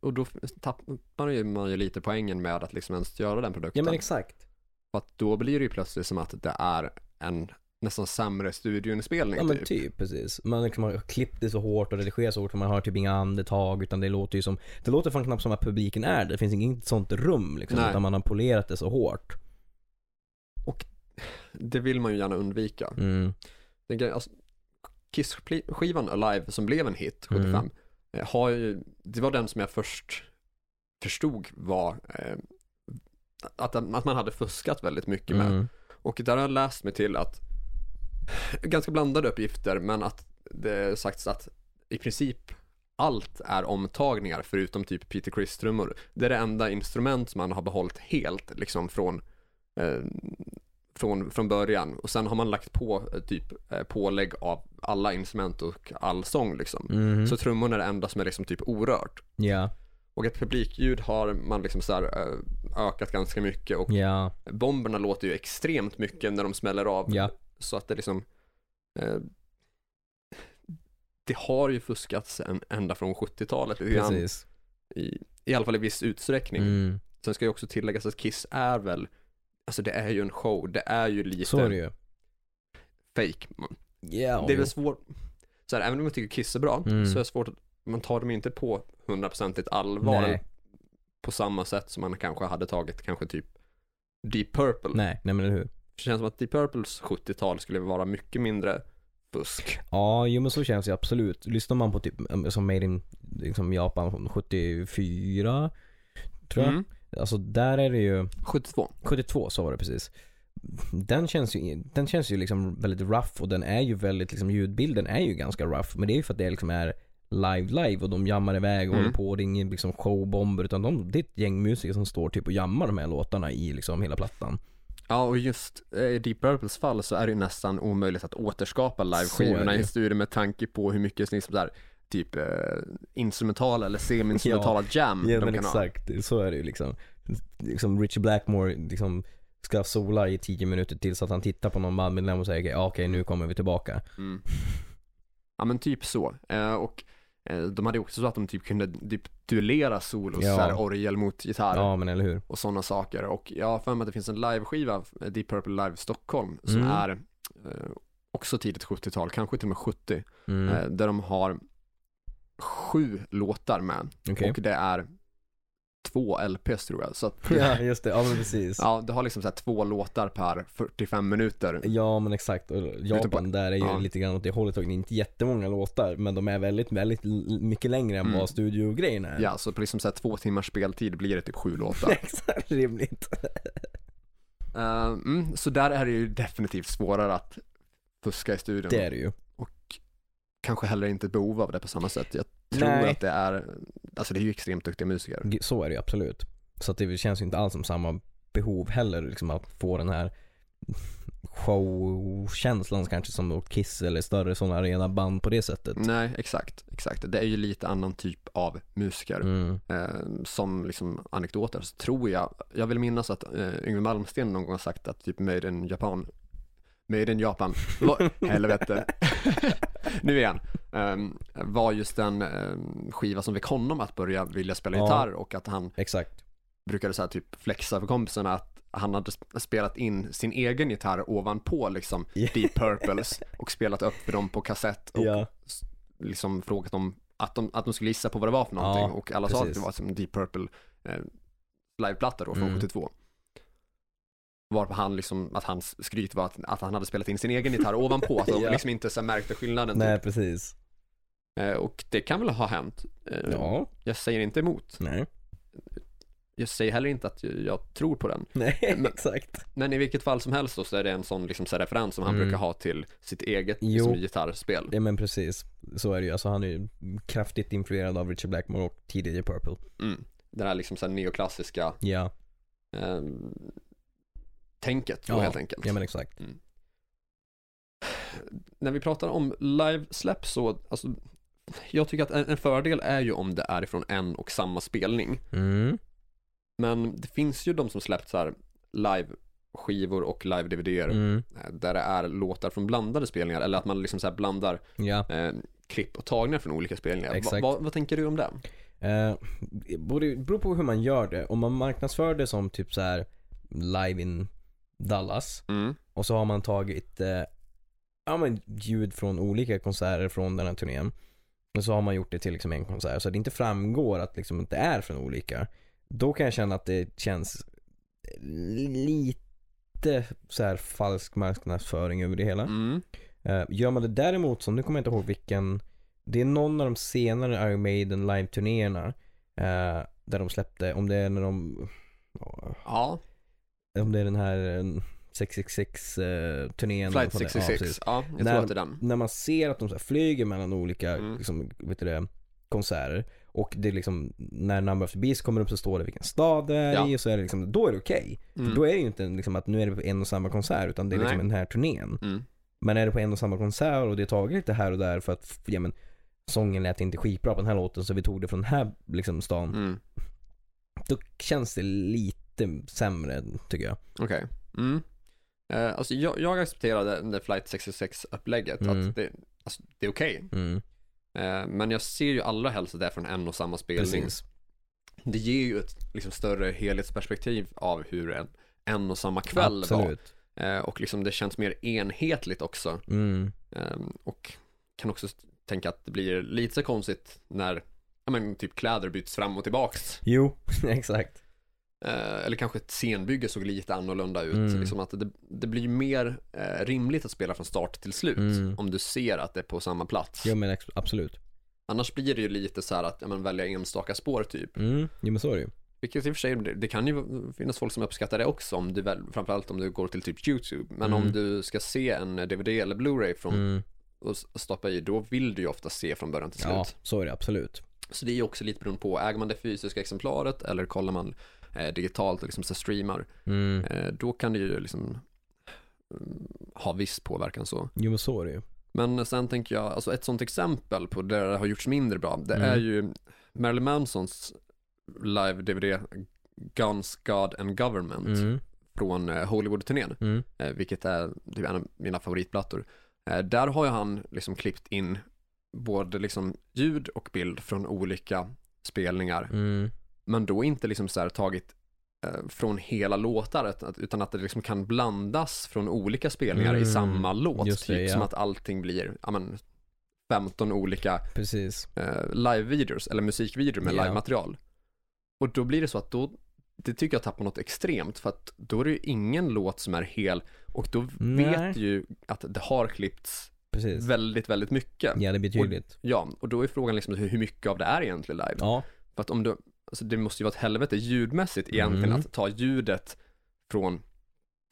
B: och då tappar ju man ju lite poängen med att liksom ens göra den
A: Ja
B: produkten.
A: men exakt.
B: För att då blir det ju plötsligt som att det är en nästan sämre studioinspelning
A: Ja men
B: typ.
A: typ precis. Man liksom har klippt det så hårt och redigerat så hårt och man har typ inga andetag utan det låter ju som Det låter fan knappt som att publiken är där. Det finns inget sånt rum liksom.
B: Nej.
A: Utan man har polerat det så hårt.
B: Det vill man ju gärna undvika.
A: Mm.
B: Den grejen, Alltså, Kiss-skivan Alive som blev en hit 75,
A: Mm.
B: eh, har ju, det var den som jag först förstod var eh, att, att man hade fuskat väldigt mycket med.
A: Mm.
B: Och där har jag läst mig till att, ganska blandade uppgifter, men att det sagts att i princip allt är omtagningar förutom typ Peter Criss trummor. Det är det enda instrument som man har behållit helt liksom från, eh, från, från början. Och sen har man lagt på eh, typ eh, pålägg av alla instrument och all sång liksom.
A: Mhm.
B: Så trummorna är det enda som är liksom typ orört.
A: Ja,
B: Och ett publikljud har man liksom så här eh, ökat ganska mycket och
A: ja,
B: bomberna låter ju extremt mycket när de smäller av.
A: ja.
B: Så att det liksom eh, Det har ju fuskats en, ända från 70-talet lite grann,
A: Precis.
B: i, I alla fall i viss utsträckning.
A: Mm.
B: Sen ska ju också tilläggas att Kiss är väl Alltså det är ju en show, det är ju lite
A: Så är det ju.
B: fake.
A: Ja.
B: Det är väl svårt, så här, även om jag tycker Kiss är bra,
A: Mm.
B: så är det svårt att man tar dem inte på hundraprocentigt allvar
A: Nej.
B: på samma sätt som man kanske hade tagit kanske typ Deep Purple.
A: Nej, nej men eller hur.
B: Det känns som att Deep Purples 70-tal skulle vara mycket mindre fusk.
A: Ja, jo men så känns det absolut. Lyssnar man på typ, eh, som Made in liksom Japan från 74, tror jag.
B: Mm.
A: Alltså där är det ju
B: 72.
A: 72 så var det precis. Den känns ju, den känns ju liksom väldigt rough och den är ju väldigt, liksom ljudbilden är ju ganska rough. Men det är ju för att det liksom är live live och de jammar iväg och
B: Mm.
A: håller på. Och det är ingen liksom showbomber utan de, det är ett gäng musiker som står typ och jammar de här låtarna i liksom hela plattan.
B: Ja, och just eh, i Deep Purples fall så är det ju nästan omöjligt att återskapa
A: Så är
B: liveskivorna
A: det
B: i
A: ju.
B: en studio med tanke på hur mycket liksom där, typ eh, instrumentala eller semi-instrumentala jam de kan ha.
A: så är det ju liksom. Liksom Richie Blackmore liksom ska sola i 10 minuter till så att han tittar på någon bandmedlem och säger okej, okej nu kommer vi tillbaka.
B: Mm. Ja, men typ så. Eh, och eh, de hade ju också så att de typ kunde typ duellera solos,
A: Ja.
B: så här, orgel mot gitarr
A: Ja men eller hur.
B: och sådana saker. Och jag har för mig att det finns en liveskiva, eh, Deep Purple Live Stockholm, som
A: Mm.
B: är eh, också tidigt 70-tal, kanske till och med 70,
A: Mm.
B: eh, där de har sju låtar med.
A: Okej.
B: Och det är två LPs tror jag. Så att,
A: Ja, just det. Ja, men precis.
B: ja, du har liksom så här två låtar per 45 minuter.
A: Ja men exakt, och Japan där är ju
B: ja.
A: lite grann åt det hållet och det är inte jättemånga låtar men de är väldigt, väldigt l- mycket längre än
B: Mm.
A: vad studiogrejen är.
B: Ja, så på liksom så här två timmars speltid blir det typ sju låtar.
A: exakt, rimligt.
B: Mm. Eh, mm, så där är det ju definitivt svårare att fuska i studion.
A: Det är det ju.
B: Och kanske heller inte ett behov av det på samma sätt. Jag tror
A: Nej.
B: att det är, alltså det är ju extremt duktiga musiker.
A: G- Så är det ju absolut. Så att det känns ju inte alls som samma behov heller liksom att få den här showkänslan kanske som Kiss eller större sådana arenaband på det sättet.
B: Nej, exakt, exakt. Det är ju lite annan typ av musiker.
A: Mm.
B: Eh, som liksom anekdoter så tror jag, jag vill minnas att eh, Yngwie Malmsteen någon gång har sagt att typ Made in Japan, Made in Japan, var, helvete, nu igen, Ehm, var just den ehm, skiva som fick honom att börja vilja spela
A: Ja.
B: gitarr och att han
A: Exakt.
B: brukade så här typ flexa för kompisarna att han hade sp- spelat in sin egen gitarr ovanpå liksom
A: Ja.
B: Deep Purples och spelat upp för dem på kassett och
A: Ja.
B: liksom frågat dem att de, att de skulle gissa på vad det var för någonting
A: Ja,
B: och alla sa att det
A: precis.
B: var som Deep Purple eh, liveplatta då från
A: Mm.
B: 72. Varpå han liksom, att hans skryt var att, att han hade spelat in sin egen gitarr ovanpå, att de
A: Ja.
B: liksom inte så här märkte skillnaden.
A: Nej
B: Typ.
A: precis.
B: Eh, och det kan väl ha hänt. Eh,
A: Ja.
B: Jag säger inte emot.
A: Nej.
B: Jag säger heller inte att jag tror på den.
A: Nej
B: Men-
A: exakt.
B: Men i vilket fall som helst då så är det en sån liksom så här referens som han
A: Mm.
B: brukar ha till sitt eget
A: Jo.
B: liksom, gitarrspel.
A: Ja men precis. Så är det ju. Alltså han är ju kraftigt influerad av Richard Blackmore och tidigare Purple.
B: Mm. Det här liksom så här neoklassiska
A: Ja.
B: eh, tänket då
A: Ja,
B: helt enkelt.
A: Ja men exakt.
B: När vi pratar om livesläpp så, alltså, jag tycker att en, en fördel är ju om det är från en och samma spelning.
A: Mm.
B: Men det finns ju de som släppt så här live-skivor och live-dvd-er
A: Mm.
B: eh, där det är låtar från blandade spelningar eller att man liksom så här blandar
A: Ja.
B: eh, klipp och tagningar från olika spelningar. Va,
A: Exakt.
B: va, vad tänker du om det?
A: Eh, det borde- beror på hur man gör det. Om man marknadsför det som typ så här live in Dallas
B: Mm.
A: och så har man tagit eh, ja, men ljud från olika konserter från den här turnén. Och så har man gjort det till liksom en konsert så att det inte framgår att liksom att det är från olika. Då kan jag känna att det känns lite så här falsk marknadsföring över det hela.
B: Mm.
A: Eh, Gör man det däremot som, nu kommer jag inte ihåg vilken, det är någon av de senare Iron Maiden live-turnéerna eh, där de släppte, om det är när de,
B: Ja,
A: om det är den här eh, 666 eh, turnén.
B: Flight
A: eller vad det är. Ja,
B: 666.
A: precis.
B: Ja, jag
A: När-
B: tror att det är den.
A: när man ser att de så här, flyger mellan olika,
B: Mm.
A: liksom, vet du det, konserter och det är liksom, när Number of the Beast kommer upp så står det vilken stad det är
B: Ja.
A: i och så är det liksom, då är det okej. För
B: Mm.
A: Då är det ju inte liksom att nu är det på en och samma konsert utan det är liksom
B: Nej.
A: den här turnén.
B: Mm.
A: Men är det på en och samma konsert och det är taget lite här och där för att ja, men, sången lät inte skitbra på den här låten så vi tog det från den här liksom, stan.
B: Mm.
A: Då känns det lite sämre tycker jag.
B: Okej. Mm. Eh, alltså jag, jag accepterade det flight 66-upplägget.
A: Mm.
B: Att det, alltså, det är okej.
A: Mm,
B: Eh, men jag ser ju allra helst att det är från en och samma spelning.
A: precis.
B: Det ger ju ett liksom, större helhetsperspektiv av hur en, en och samma kväll
A: Absolut.
B: var. Eh, och liksom det känns mer enhetligt också.
A: Mm,
B: Eh, och kan också tänka att det blir lite så konstigt när ja, men, typ kläder byts fram och tillbaks.
A: jo, exakt.
B: Eh, eller kanske ett scenbygge såg lite annorlunda ut.
A: Mm.
B: Liksom att det, det blir mer eh, rimligt att spela från start till slut
A: Mm.
B: om du ser att det är på samma plats.
A: Jo men ex- absolut.
B: Annars blir det ju lite så här att ja, men, välja enstaka spår typ.
A: Mm, jo men så är det ju.
B: Vilket i och för sig, det, det kan ju finnas folk som uppskattar det också om du väl, framförallt om du går till typ YouTube. Men om
A: Mm.
B: du ska se en DVD eller Blu-ray från
A: Mm,
B: och s- stoppa i, då vill du ju ofta se från början till slut.
A: ja, så är det absolut.
B: Så det är ju också lite beroende på, äger man det fysiska exemplaret eller kollar man eh, digitalt och liksom så här streamar.
A: Mm,
B: Eh, då kan det ju liksom mm, ha viss påverkan så.
A: jo men så är det ju.
B: Men sen tänker jag, alltså ett sånt exempel på där det har gjorts mindre bra, det
A: Mm.
B: är ju Marilyn Mansons live-DVD Guns, God and Government
A: Mm,
B: från eh, Hollywood-turnén,
A: mm,
B: eh, vilket är typ en av mina favoritplattor. Eh, Där har ju han liksom klippt in både liksom ljud och bild från olika spelningar
A: mm,
B: men då inte liksom så här tagit eh, från hela låtar ut- att- utan att det liksom kan blandas från olika spelningar i
A: Mm,
B: samma låt.
A: just det,
B: typ
A: ja.
B: som att allting blir, ja men 15 olika
A: precis.
B: eh, live-videos eller musikvideor med
A: Ja.
B: live-material. Och då blir det så att då, det tycker jag tappar något extremt för att då är det ju ingen låt som är hel och då
A: Nej.
B: vet du ju att det har klippts
A: Precis.
B: väldigt, väldigt mycket.
A: Ja, det är betydligt.
B: Ja, och då är frågan liksom hur hur mycket av det är egentligen live?
A: Ja,
B: För att om du, alltså det måste ju vara ett helvete ljudmässigt egentligen
A: Mm.
B: att ta ljudet från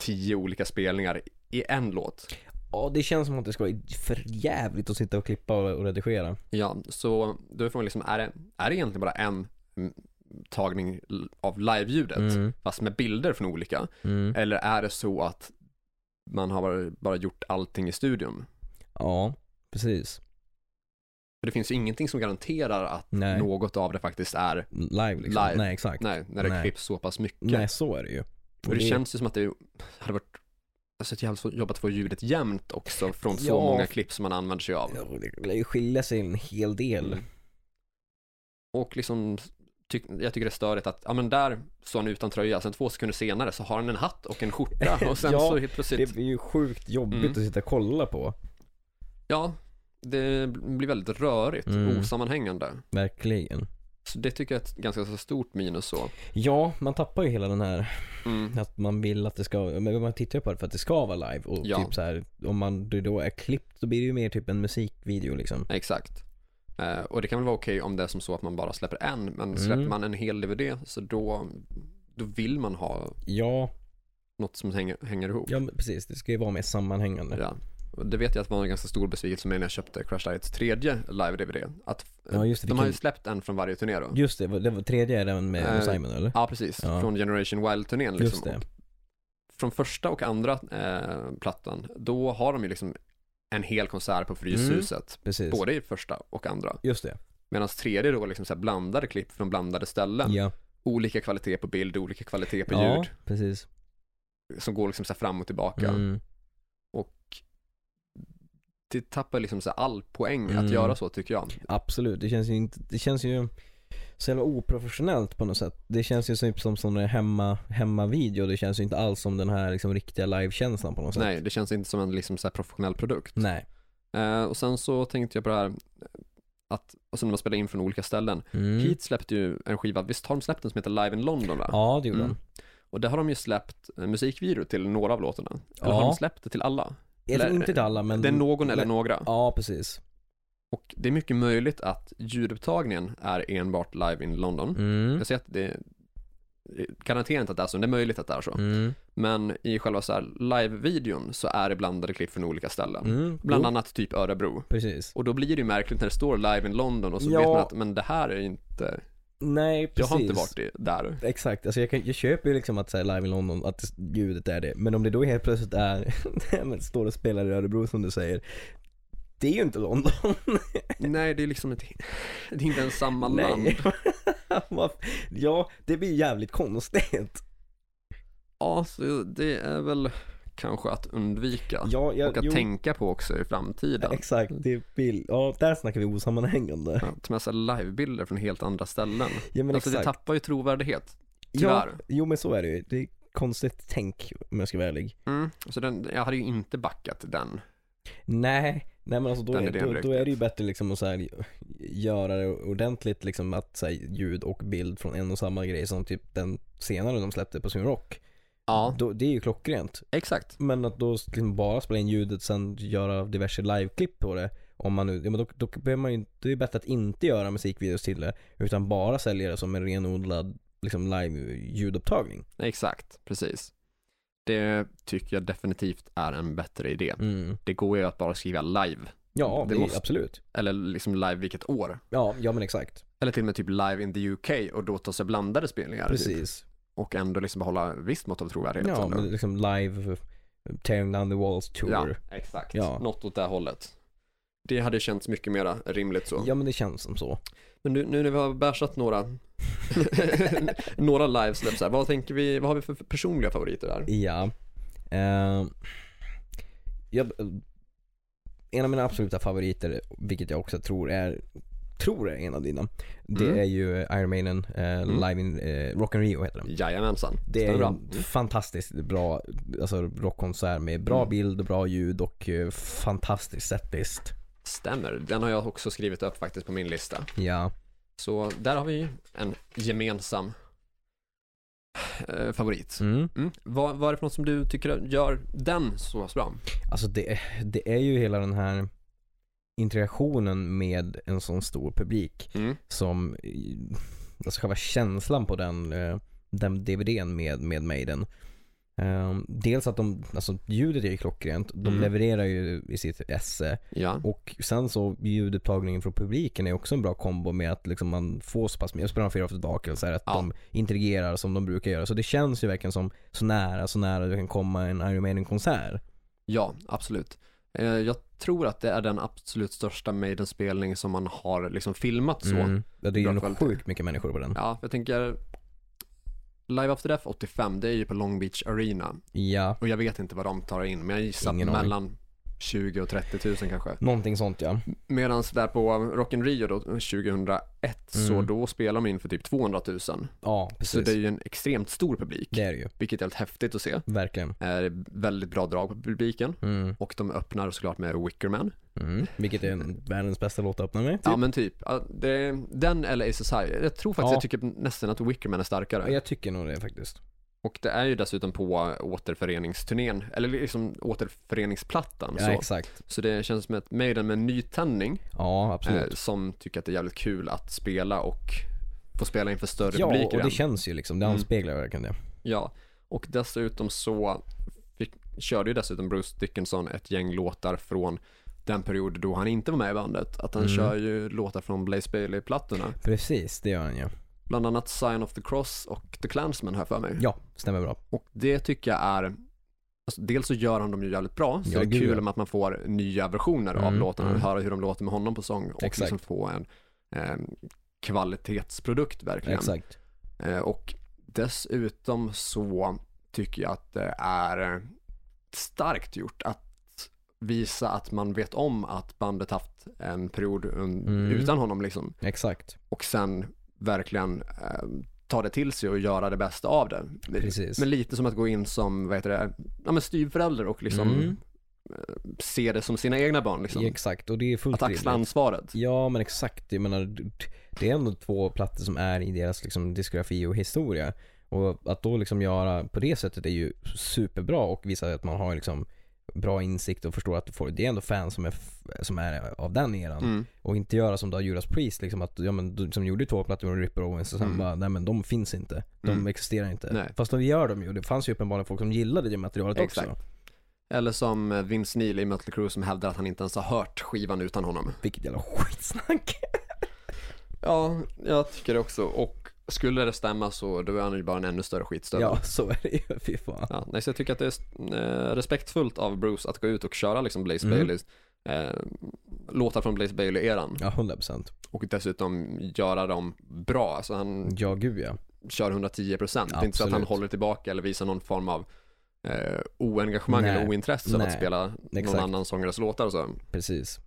B: tio olika spelningar i en låt.
A: Ja, det känns som att det ska vara för jävligt att sitta och klippa och, och redigera.
B: Ja, så då är frågan liksom, är det, är det egentligen bara en mm, tagning l- av live-ljudet,
A: Mm.
B: fast med bilder från olika?
A: Mm.
B: Eller är det så att man har bara, bara gjort allting i studion?
A: Ja, precis.
B: För det finns ju ingenting som garanterar att
A: Nej,
B: något av det faktiskt är,
A: live liksom.
B: Live.
A: Nej, exakt.
B: nej, när det
A: Nej.
B: klipps så pass mycket.
A: Nej, så är det ju.
B: Och det, känns ju som att det hade varit alltså ett jävligt svårt jobb att få ljudet jämnt också från så
A: Ja.
B: många klipp som man använder sig av.
A: Ja, det lär ju skilja sig en hel del.
B: Mm. Och liksom, tyck- jag tycker det är störigt att, ja men där står han utan tröja, sen två sekunder senare så har han en hatt och en skjorta och sen
A: Ja,
B: så helt
A: Det
B: plötsligt,
A: är ju sjukt jobbigt
B: Mm.
A: att sitta och kolla på.
B: ja, det blir väldigt rörigt,
A: Mm.
B: osammanhängande.
A: Verkligen.
B: Så det tycker jag är ett ganska så stort minus så.
A: Ja, man tappar ju hela den här
B: Mm.
A: att man vill att det ska, men man tittar ju på det för att det ska vara live och
B: Ja.
A: typ så här, om man det då är klippt så blir det ju mer typ en musikvideo liksom.
B: Exakt. Eh, och det kan väl vara okej om det är som så att man bara släpper en, men släpper
A: Mm.
B: man en hel DVD så då, då vill man ha
A: Ja,
B: något som hänger, hänger ihop.
A: ja men precis. Det ska ju vara mer sammanhängande.
B: Ja. Och Det vet jag att var en ganska stor besvikelse med när jag köpte Crash Diets tredje live-DVD. Att eh,
A: Ja, just det,
B: de
A: vilken-
B: har ju släppt en från varje turné då.
A: Just det, det var tredje är den med
B: Eh,
A: Simon eller?
B: Ja, precis.
A: Ja.
B: Från Generation Wild-turnén liksom.
A: Just det.
B: Och Från första och andra eh, plattan, då har de ju liksom en hel konsert på Fryshuset.
A: Precis.
B: Både i första och andra.
A: Just det.
B: Medan tredje då liksom så här blandade klipp från blandade ställen.
A: Ja.
B: Olika kvalitet på bild, olika kvalitet på
A: ja,
B: ljud.
A: precis.
B: Som går liksom så här fram och tillbaka.
A: Mm.
B: Det tappar liksom så här all poäng att
A: Mm.
B: göra så tycker jag.
A: Absolut, det känns ju inte, det känns ju så jävla oprofessionellt på något sätt. Det känns ju typ som sån där hemma, hemmavideo, det känns ju inte alls som den här liksom riktiga livekänslan på något sätt.
B: Nej, det känns inte som en liksom så här professionell produkt.
A: Nej.
B: Eh, och sen så tänkte jag på det här att, alltså när man spelar in från olika ställen.
A: Mm.
B: Heat släppte ju en skiva, visst har de släppt en som heter Live in London va?
A: Ja, det gjorde
B: Mm.
A: han.
B: Och där har de ju släppt eh, musikvideo till några av låtarna. Eller
A: Ja.
B: har de släppt det till alla?
A: Jag tror
B: Eller-
A: inte till alla men...
B: Det är någon eller
A: men-
B: några.
A: Mm. Ja, precis.
B: Och det är mycket möjligt att ljudupptagningen är enbart Live in London.
A: Mm.
B: Jag säger att det eh, garanterar inte att det är så, men det är möjligt att det är så.
A: Mm.
B: Men i själva så här live-videon så är det blandade klipp från olika ställen.
A: Mm.
B: Bland
A: Jo,
B: annat typ Örebro.
A: Precis.
B: Och då blir det ju märkligt när det står live in London och så
A: Ja.
B: vet man att men det här är inte,
A: Nej, precis.
B: jag har inte varit i- där.
A: Exakt, alltså jag, kan, jag köper ju liksom att säga live i London, att det- ljudet är det. Men om det då helt plötsligt är, nej, men står och spelar i Örebro som du säger. Det är ju inte London.
B: Nej, det är liksom inte, det är inte ens samma land.
A: Vad- ja, det blir jävligt konstigt.
B: Ja, så det är väl kanske att undvika.
A: Ja, jag,
B: Ah, och att
A: jo,
B: tänka på också i framtiden.
A: Exakt, det blir, ja där snackar vi osammanhängande.
B: Att ta med sig livebilder från helt andra ställen.
A: Ja men
B: alltså det
A: exakt.
B: tappar ju trovärdighet.
A: ja,
B: tyvärr.
A: jo men så är det ju. Det är konstigt tänk om jag ska vara ärlig.
B: Mm. Så den, jag hade ju inte backat den.
A: Nej, nej men alltså då,
B: Den
A: är,
B: idén
A: då,
B: riktigt.
A: då är det ju bättre liksom att så här, göra det ordentligt liksom att så här, ljud och bild från en och samma grej som typ den senare de släppte på sin rock.
B: Ja,
A: Då, det är ju klockrent.
B: exakt.
A: Men att då liksom bara spela in ljudet sen göra diverse liveklipp på det. Om man nu, ja, men då, då behöver man ju, det är ju bättre att inte göra musikvideos till det. Utan bara sälja det som en renodlad liksom live ljudupptagning.
B: Exakt, precis. Det tycker jag definitivt är en bättre idé.
A: Mm.
B: Det går ju att bara skriva live,
A: Ja,
B: Det
A: det
B: måste-
A: absolut.
B: eller liksom live vilket år.
A: Ja, ja men exakt.
B: Eller till och med typ live in the UK och då ta sig blandade spelningar. Typ.
A: Precis.
B: Och ändå liksom behålla visst mått av trovärdighet.
A: Ja,
B: ändå.
A: men liksom live Tearing down the walls tour.
B: ja
A: Ja.
B: exakt.
A: Ja.
B: Något åt det här hållet. Det hade känts mycket mer rimligt så.
A: men det känns som så.
B: Men nu, nu när vi har bärsat några, några livesläpp så här, vad tänker vi, vad har vi för personliga favoriter där?
A: Ja. Eh, jag, en av mina absoluta favoriter, vilket jag också tror är, tror är en av dina. Det
B: Mm.
A: är ju Iron Maiden eh,
B: Mm.
A: live in eh, Rock and Rio heter den.
B: Jajamensan.
A: Det är
B: Stämmer
A: ju
B: bra.
A: en fantastiskt bra alltså, rockkonsert med bra
B: Mm.
A: bild och bra ljud och eh, fantastisk setlist.
B: Stämmer, den har jag också skrivit upp faktiskt på min lista.
A: Ja.
B: Så där har vi ju en gemensam eh, favorit.
A: Mm.
B: Mm. Vad, vad är det för något som du tycker gör den så pass bra?
A: Alltså det, det är ju hela den här interaktionen med en sån stor publik
B: Mm.
A: som, eh, alltså själva känslan på den, eh, den DVDn med, med Maiden. Eh, Dels att de, alltså ljudet är ju klockrent, de
B: Mm.
A: levererar ju i sitt esse
B: Ja.
A: och sen så ljudupptagningen från publiken är också en bra kombo med att liksom man får så pass mycket, jag spelar Fear of the Dark, eller så här, att
B: Ja.
A: de interagerar som de brukar göra. Så det känns ju verkligen som så nära, så nära du kan komma en Iron Maiden-konsert.
B: Ja, absolut. Eh, Jag tror att det är den absolut största Maiden-spelning som man har liksom filmat så.
A: Mm. Ja, det är
B: Bra
A: ju nog
B: kvalitet.
A: sjukt mycket människor på den.
B: Ja, jag tänker Live After Death 85, det är ju på Long Beach Arena.
A: Ja,
B: Och jag vet inte vad de tar in, men jag gissar
A: Ingen aning.
B: mellan 20 och 30 000 kanske.
A: någonting sånt ja.
B: Medan där på Rock in Rio då, 2001, så
A: Mm.
B: då spelar de in för typ 200 000.
A: Ja,
B: Så
A: precis.
B: det är ju en extremt stor publik,
A: Det är det ju,
B: vilket är helt häftigt att se.
A: verkligen.
B: Eh, väldigt bra drag på publiken.
A: Mm.
B: Och de öppnar såklart med Wickerman.
A: Mm. Vilket är en, världens bästa låt att öppna med.
B: Ja men typ, Ja, det, den eller Ace of High. Jag tror faktiskt
A: Ja.
B: jag tycker nästan att Wickerman är starkare.
A: Ja, Jag tycker nog det faktiskt.
B: Och det är ju dessutom på återföreningsturnén, eller liksom återföreningsplattan.
A: Ja,
B: så.
A: exakt.
B: så det känns som ett Maiden med nytändning
A: Ja, absolut.
B: eh, som tycker att det är jävligt kul att spela och få spela inför större
A: ja,
B: publik
A: och
B: igen.
A: det känns ju liksom. Det
B: Mm.
A: anspeglar verkligen det.
B: Ja, och dessutom så fick, körde ju dessutom Bruce Dickinson ett gäng låtar från den period då han inte var med i bandet. Att han
A: Mm.
B: kör ju låtar från Blaze Bailey-plattorna.
A: Precis, det gör han ju.
B: Bland annat Sign of the Cross och The Clansman här för mig.
A: Ja, stämmer bra.
B: Och det tycker jag är, alltså dels så gör han dem ju jävligt bra, så
A: Ja,
B: det är
A: gud,
B: kul
A: ja.
B: med att man får nya versioner av
A: Mm,
B: låtarna,
A: mm.
B: höra hur de låter med honom på sång och
A: Exakt.
B: liksom få en eh, kvalitetsprodukt verkligen.
A: Exakt.
B: Eh, och dessutom så tycker jag att det är starkt gjort att visa att man vet om att bandet haft en period un-
A: Mm.
B: utan honom liksom
A: Exakt.
B: och sen verkligen eh, ta det till sig och göra det bästa av det.
A: Precis.
B: Men lite som att gå in som, vad heter det, ja men styvförälder och liksom
A: Mm.
B: se det som sina egna barn liksom.
A: Exakt, och det är fullt
B: Att axla
A: rimligt.
B: ansvaret.
A: Ja, men exakt. Jag menar, det är ändå två plattor som är i deras liksom, diskografi och historia. Och att då liksom göra på det sättet är ju superbra och visar att man har liksom bra insikt och förstår att du får, det är ändå fans som är, f- som är av den eran.
B: Mm.
A: Och inte göra som då Judas Priest, liksom att, ja, men, du- som gjorde två plattor med Ripper Owens och sen
B: Mm.
A: bara, nej men de finns inte. De
B: Mm.
A: existerar inte.
B: Nej.
A: Fast de gör dem ju. Det fanns ju uppenbarligen folk som gillade det materialet också.
B: Exakt. Eller som eh, Vince Neil i Mötley Crüe som hävdar att han inte ens har hört skivan utan honom.
A: Vilket jävla skitsnack.
B: Ja, jag tycker det också. Och skulle det stämma så då är han ju bara en ännu större skitstövel.
A: Ja, så är det ju. Fy fan.
B: Ja, nej, så jag tycker att det är eh, respektfullt av Bruce att gå ut och köra liksom Blaze
A: Mm.
B: Baileys eh, låtar från Blaze Bailey-eran
A: Ja, 100%.
B: och dessutom göra dem bra. Alltså han
A: Ja, gud ja.
B: kör 110 procent. Det är inte så att han
A: Mm. Absolut.
B: håller tillbaka eller visar någon form av eh, oengagemang
A: Nej.
B: eller ointresse av att
A: Nej.
B: spela
A: Exakt.
B: någon annan sångares låtar och så.
A: Precis.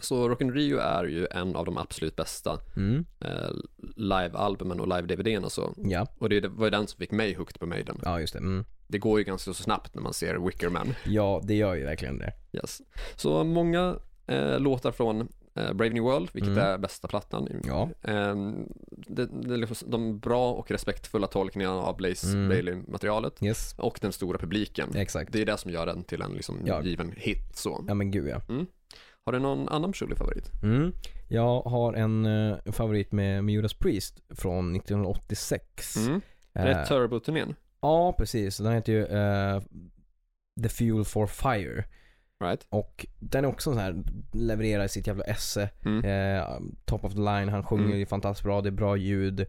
B: Så Rock in Rio är ju en av de absolut bästa
A: Mm.
B: eh, live-albumen och live-DVDn och så.
A: Ja,
B: Och det var ju den som fick mig hooked på Maiden.
A: ja just det. Mm.
B: Det går ju ganska så snabbt när man ser Wicker Man.
A: Ja, det gör ju verkligen det.
B: Yes. Så många eh, låtar från eh, Brave New World, vilket
A: Mm.
B: är bästa plattan.
A: Ja.
B: Ehm, det, det är liksom de bra och respektfulla tolkningarna av Blaze
A: Mm.
B: Bailey-materialet
A: Yes.
B: och den stora publiken.
A: Exakt.
B: Det är det som gör den till en liksom
A: Ja.
B: given hit. Så.
A: Ja men gud ja.
B: Har du någon annan personlig favorit?
A: Mm. Jag har en eh, favorit med, med Judas Priest från 1986.
B: Mm.
A: Eh,
B: Det är Turbo-turnén,
A: ja, precis. Den heter ju eh, The Fuel for Fire.
B: right?
A: Och den är också så här, levererar sitt jävla esse.
B: Mm.
A: Eh, top of the line, han sjunger
B: Mm.
A: ju fantastiskt bra, det är bra ljud.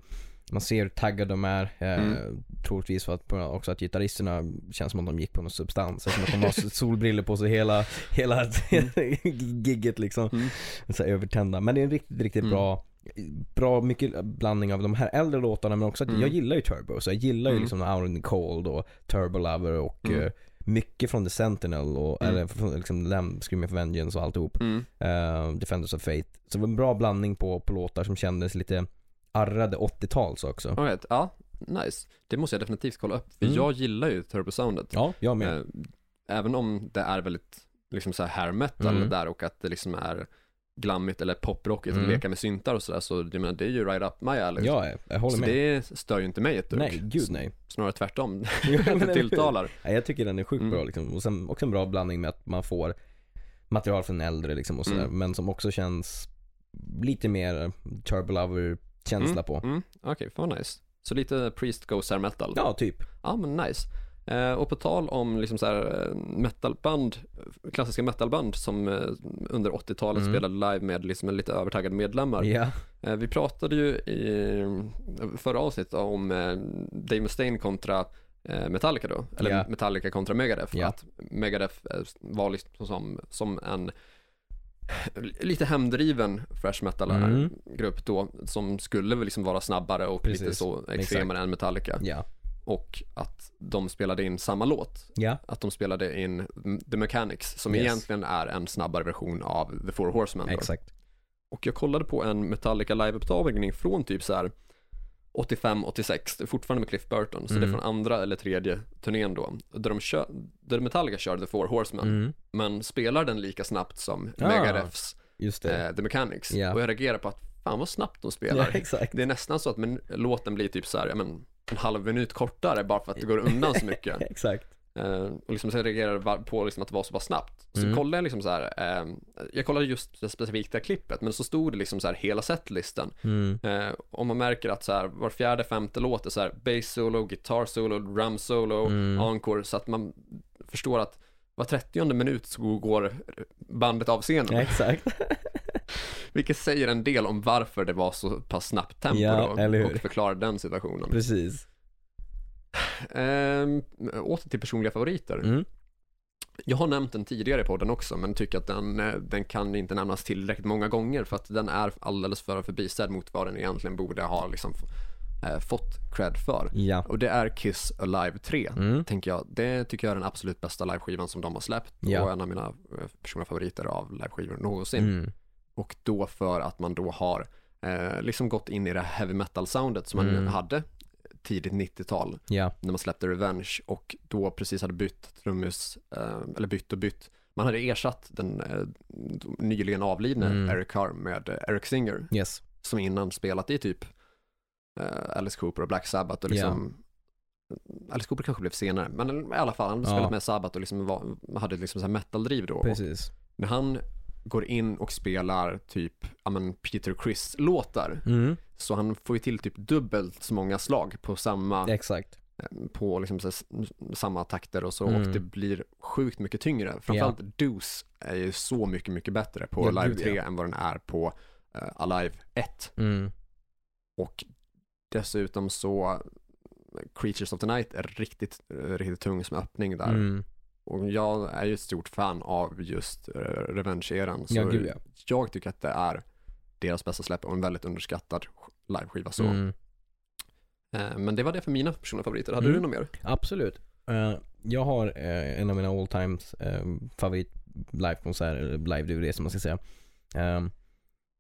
A: Man ser hur taggade de är. Eh,
B: Mm.
A: Troligtvis för att, på- också att gitarristerna känns som att de gick på någon substans. Eftersom att de har solbriller på sig hela, hela gigget liksom.
B: Mm.
A: Så här, övertända. Men det är en riktigt, riktigt
B: Mm.
A: bra Bra mycket blandning av de här äldre låtarna men också att
B: Mm.
A: jag gillar ju Turbo. Så jag gillar ju
B: Mm.
A: liksom Out in the Cold och Turbo Lover och
B: Mm.
A: eh, mycket från The Sentinel och
B: Mm.
A: eller från, liksom, Lamb, Screaming for Vengeance och alltihop.
B: Mm.
A: Eh, Defenders of Faith. Så det var en bra blandning på, på låtar som kändes lite arrade 80-tals också.
B: All right. Ja, nice. Det måste jag definitivt kolla upp, för
A: Mm.
B: jag gillar ju Turbo-soundet.
A: Ja, jag med.
B: Eh, Även om det är väldigt liksom så här hair metal
A: Mm.
B: där och att det liksom är glammigt eller poprockigt
A: Mm.
B: att leka med syntar och sådär. Så jag menar, det är ju right up my alley.
A: Ja, jag- jag håller
B: så
A: med.
B: det stör ju inte mig ett dugg.
A: Nej, gud nej.
B: Snarare tvärtom.
A: Jo, men eller
B: det
A: hur?
B: tilltalar.
A: Ja, jag tycker den är sjukt
B: Mm.
A: bra liksom. Och sen också en bra blandning med att man får material från äldre liksom och sådär.
B: Mm.
A: Men som också känns lite mer Turbo Lover känsla på.
B: Mm. Okej, fan vad nice. Så lite Priest Goes Air Metal.
A: Ja, typ.
B: Ja, men nice. Eh, och på tal om liksom så här eh, metalband, klassiska metalband som eh, under 80-talet
A: Mm.
B: spelade live med liksom en lite övertaggade medlemmar.
A: Ja.
B: Eh, vi pratade ju i förra avsnittet om eh, Dave Mustaine kontra eh, Metallica då, eller
A: Ja.
B: Metallica kontra Megadeth.
A: Ja.
B: Att Megadeth eh, var liksom som, som en eh, lite hemdriven fresh metal
A: Mm.
B: grupp då som skulle väl liksom vara snabbare och lite
A: Precis.
B: så extremare än Metallica
A: Ja.
B: och att de spelade in samma låt.
A: Ja.
B: Att de spelade in The Mechanics som
A: Yes.
B: egentligen är en snabbare version av The Four Horsemen. Då.
A: Exakt.
B: Och jag kollade på en Metallica live-upptagning från typ så här 85-86, det är fortfarande med Cliff Burton, så det är
A: Mm.
B: från andra eller tredje turnén då, där, de kö- där Metallica kör The Four Horsemen,
A: Mm.
B: men spelar den lika snabbt som
A: Ah,
B: Megadeths
A: Just det.
B: eh, The Mechanics.
A: Ja.
B: Och jag reagerar på att fan vad snabbt de
A: ja,
B: spelar.
A: exakt.
B: Det är nästan så att men, låten blir typ så här, ja, men, en halv minut kortare bara för att det går undan så mycket.
A: Exakt.
B: Eh, och liksom så jag reagerade var- på liksom att det var så bara snabbt. Så
A: Mm.
B: kollade jag liksom så här, eh, jag kollade just det specifika klippet, men så stod det liksom så här hela setlistan.
A: Mm.
B: Eh, och man märker att så här, var fjärde, femte låt är så här bass solo, guitar solo, drum solo,
A: Mm.
B: encore, så att man förstår att var trettionde minut så går bandet av scenen.
A: Exakt.
B: Vilket säger en del om varför det var så pass snabbt tempo
A: Ja,
B: då,
A: eller hur?
B: och förklarar den situationen.
A: Precis.
B: Ehm, åter till personliga favoriter.
A: Mm.
B: Jag har nämnt den tidigare i podden också, men tycker att den, eh, den kan inte nämnas tillräckligt många gånger för att den är alldeles för förbisedd mot vad den egentligen borde ha liksom, f- eh, fått cred för.
A: Ja.
B: Och det är Kiss Alive 3,
A: Mm.
B: tänker jag. Det tycker jag är den absolut bästa liveskivan som de har släppt
A: Ja.
B: och en av mina eh, personliga favoriter av liveskivor någonsin.
A: Mm.
B: Och då för att man då har eh, liksom gått in i det heavy metal soundet som man
A: Mm.
B: hade tidigt 90-tal
A: Ja.
B: när man släppte Revenge och då precis hade bytt trummis, eh, eller bytt och bytt. Man hade ersatt den eh, nyligen avlidne
A: Mm.
B: Eric Carr med eh, Eric Singer
A: Yes.
B: som innan spelat i typ eh, Alice Cooper och Black Sabbath och liksom Alice Cooper kanske blev senare, men i alla fall han hade
A: Ja.
B: spelat med Sabbath och liksom var, hade liksom så här metal-driv då. Och
A: Precis.
B: när han går in och spelar typ, ja men Peter Chris-låtar,
A: Mm.
B: så han får ju till typ dubbelt så många slag på samma
A: Exakt.
B: på liksom så här, s- samma takter och så
A: Mm.
B: och det blir sjukt mycket tyngre. Framförallt Deuce är ju så mycket, mycket bättre på
A: Ja,
B: Alive
A: gud,
B: 3 än vad den är på eh, Alive 1.
A: Mm.
B: Och dessutom så Creatures of the Night är riktigt, eh, riktigt tung som öppning där.
A: Mm.
B: Och jag är ju ett stort fan av just eh, Revenge-eran. Så
A: Ja, gud ja.
B: jag tycker att det är deras bästa släpp och en väldigt underskattad liveskiva så.
A: Mm.
B: Eh, Men det var det för mina personliga favoriter. Hade
A: Mm.
B: du något mer?
A: Absolut. Eh, jag har eh, en av mina all times eh, favorit livekonsert, eller live-DVD som man ska säga. Eh,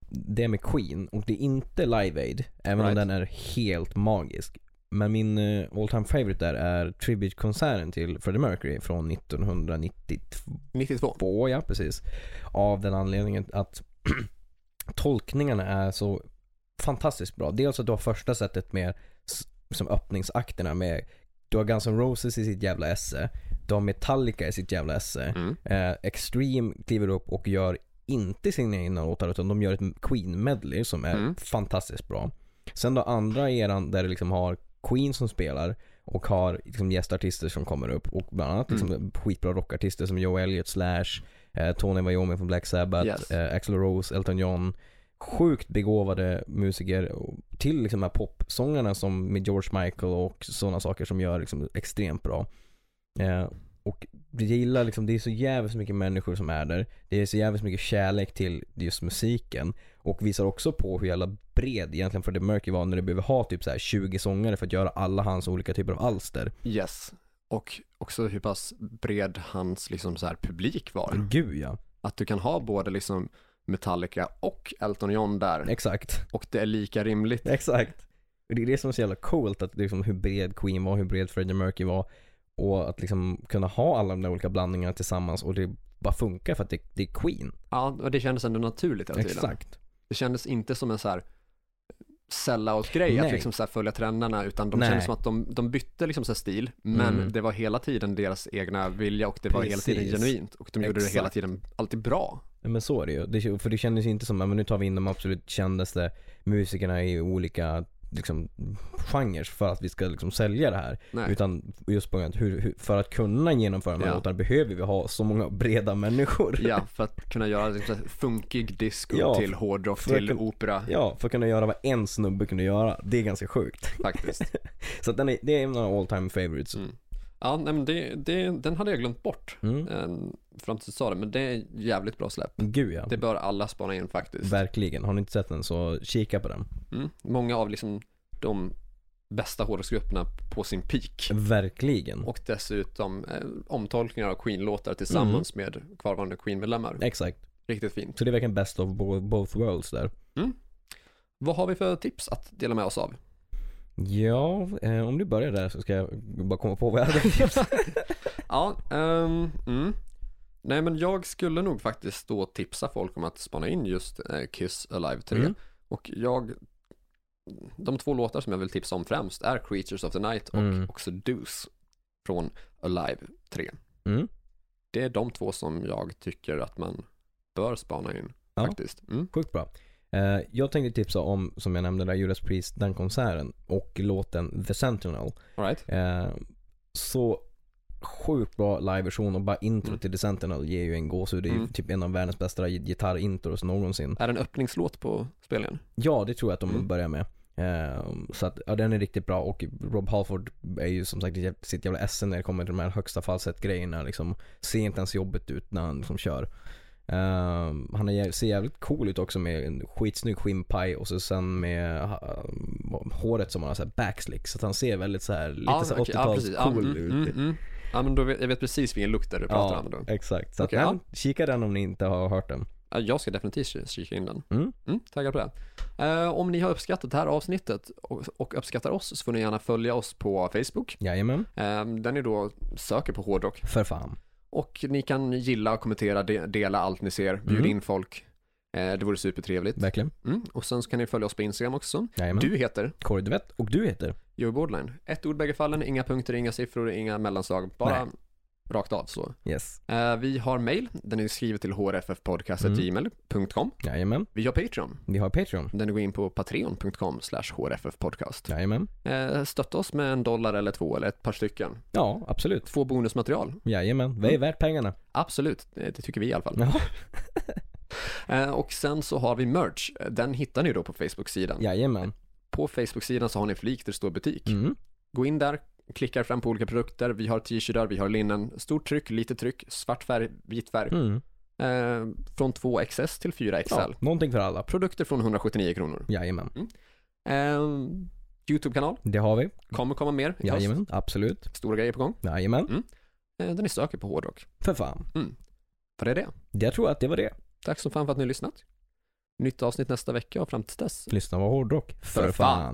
A: det är med Queen och det är inte Live Aid, även om
B: Right.
A: den är helt magisk. Men min eh, all time favorite där är Tribute-konserten till Freddie Mercury från 1992
B: 92.
A: på, ja precis. Av den anledningen att tolkningarna är så fantastiskt bra. Dels att du har första sättet med s- som öppningsakterna med du har Guns N' Roses i sitt jävla esse. Du har Metallica i sitt jävla esse.
B: Mm.
A: Eh, Extreme kliver upp och gör inte sina egna låtar utan de gör ett Queen-medley som är
B: Mm.
A: fantastiskt bra. Sen då andra eran där det liksom har Queen som spelar och har liksom gästartister som kommer upp och bland annat liksom skitbra rockartister som Joe Elliott, Slash, eh, Tony Iommi från Black Sabbath,
B: Yes.
A: eh, Axl Rose, Elton John. Sjukt begåvade musiker och till liksom de här popsångarna som med George Michael och sådana saker som gör liksom extremt bra. Eh, och jag gillar liksom, det är så jävligt mycket människor som är där. Det är så jävligt mycket kärlek till just musiken. Och visar också på hur jävla bred egentligen Freddie Mercury var när du behöver ha typ så här 20 sångare för att göra alla hans olika typer av alster.
B: Yes. Och också hur pass bred hans liksom så här publik var.
A: Gud ja.
B: Att du kan ha både liksom Metallica och Elton John där
A: Exakt.
B: och det är lika rimligt.
A: Exakt. Och Det är det som är så jävla coolt, att liksom hur bred Queen var, hur bred Freddie Mercury var. Och att liksom kunna ha alla de där olika blandningarna tillsammans och det bara funkar för att det, det är Queen.
B: Ja, och det kändes ändå naturligt hela tiden.
A: Exakt.
B: Det kändes inte som en så här sellout-grej att
A: Nej.
B: liksom så här följa trenderna utan de
A: Nej.
B: kändes som att de, de bytte liksom så här stil men
A: Mm.
B: det var hela tiden deras egna vilja och det var hela tiden
A: Precis.
B: genuint och de gjorde det hela
A: Exakt.
B: tiden alltid bra.
A: Ja, Men så är det ju. Det, för det kändes ju inte som, ja, men nu tar vi in de absolut kändaste musikerna i olika liksom, genrer för att vi ska liksom, sälja det här.
B: Nej.
A: Utan just på grund av att hur, hur, för att kunna genomföra de här
B: Ja.
A: låtarna behöver vi ha så många breda människor.
B: Ja, för att kunna göra liksom så här funkig disco
A: Ja,
B: till hårdrock
A: för att
B: till
A: kunna-
B: opera
A: Ja, för att kunna göra vad en snubbe kunde göra. Det är ganska sjukt.
B: faktiskt.
A: Så att den är, det är en av all time favorites.
B: Mm. Ja, nej, men det, det, den hade jag glömt bort
A: Mm.
B: eh, fram tills du sa det men det är jävligt bra släpp.
A: Gud ja.
B: Det bör alla spana in faktiskt.
A: Verkligen. Har ni inte sett den så kika på den.
B: Mm. Många av liksom de bästa hårdrocksgrupperna på sin peak.
A: Verkligen.
B: Och dessutom eh, omtolkningar av Queen-låtar tillsammans med kvarvarande Queen-medlemmar.
A: Exakt.
B: Riktigt fint.
A: Så det är verkligen best of bo- both worlds där.
B: Vad har vi för tips att dela med oss av?
A: Ja, eh, om du börjar där så ska jag bara komma på vad jag hade för tips.
B: Ja, ehm, mm. Nej men jag skulle nog faktiskt då tipsa folk om att spana in just eh, Kiss Alive 3.
A: Mm.
B: Och jag, de två låtar som jag vill tipsa om främst är Creatures of the Night och
A: Mm.
B: också Deuce från Alive 3.
A: Mm.
B: Det är de två som jag tycker att man bör spana in
A: Ja.
B: faktiskt. Mm.
A: Sjukt bra. Eh, jag tänkte tipsa om, som jag nämnde där, Judas Priest, den konserten och låten The Sentinel.
B: All right.
A: Eh, så sjukt bra liveversion och bara intro
B: Mm.
A: till The Sentinel ger ju en gåshud. Det är ju
B: Mm.
A: typ en av världens bästa gitarrintros någonsin.
B: Är det en öppningslåt på spelningen?
A: Ja, det tror jag att de
B: Mm.
A: börjar med. Eh, så att, ja, den är riktigt bra och Rob Halford är ju som sagt i jä- sitt jävla esse när det kommer till de här högsta falsett-grejerna. Liksom, ser inte ens jobbigt ut när han liksom kör. Eh, han är, jä- ser jävligt cool ut också med en skitsnygg skinnpaj och så sen med ha, um, håret som han har så här backslick. Så att han ser väldigt så här lite så här
B: okej.
A: 80-tals
B: precis.
A: cool
B: mm,
A: ut.
B: Mm, mm. Ja, men då vet, jag vet precis vilken look där du pratar om. Då.
A: exakt. Så att,
B: Okej,
A: nej, kika den om ni inte har hört den.
B: Ja, Jag ska definitivt kika in den.
A: Mm.
B: taggad på det. Eh, om ni har uppskattat det här avsnittet och, och uppskattar oss så får ni gärna följa oss på Facebook.
A: Jajamän,
B: Eh, där ni då söker på hårdrock.
A: för fan.
B: Och ni kan gilla, kommentera, de, dela allt ni ser. Bjud
A: Mm.
B: in folk. Eh, det vore supertrevligt.
A: Verkligen.
B: Mm. Och sen så kan ni följa oss på Instagram också.
A: Jajamän. Du...
B: Du heter
A: Kåre Duvett och du heter?
B: Joey Borderline. Ett ord bägge fallen, inga punkter, inga siffror, inga mellanslag. Bara
A: Nej.
B: rakt av så.
A: Yes.
B: Eh, vi har mail, den är skriven till
A: Mm.
B: hrffpodcast.gmail.com.
A: Jajamän.
B: Vi har Patreon,
A: Vi har Patreon.
B: där ni går in på patreon.com slash hrffpodcast.
A: Jajamän.
B: Eh, stötta oss med en dollar eller två eller ett par stycken.
A: Ja, absolut. Mm.
B: Få bonusmaterial.
A: Jajamän. Det är värt pengarna.
B: Absolut, eh, det tycker vi i alla fall.
A: Ja.
B: Eh, och sen så har vi merch, Eh, den hittar ni då på Facebook-sidan.
A: Jajamän.
B: På Facebook-sidan så har ni en flik där det står butik.
A: Mm.
B: Gå in där, klickar fram på olika produkter. Vi har t-shirtar, vi har linnen. Stort tryck, litet tryck, svart färg, vit färg.
A: Mm.
B: Eh, från 2XS till 4XL.
A: Ja, någonting för alla.
B: Produkter från 179 kronor.
A: Jajamän.
B: Eh, YouTube-kanal,
A: Det har vi.
B: kommer komma mer. i höst.
A: Jajamän. Absolut.
B: Stora grejer på gång.
A: Jajamän.
B: Eh, där ni söker på hårdrock.
A: För fan.
B: För det är det.
A: Jag tror att det var det.
B: Tack som fan för att ni har lyssnat. Nytt avsnitt nästa vecka och fram till dess
A: Lyssna på hårdrock. För,
B: För fan.
A: fan.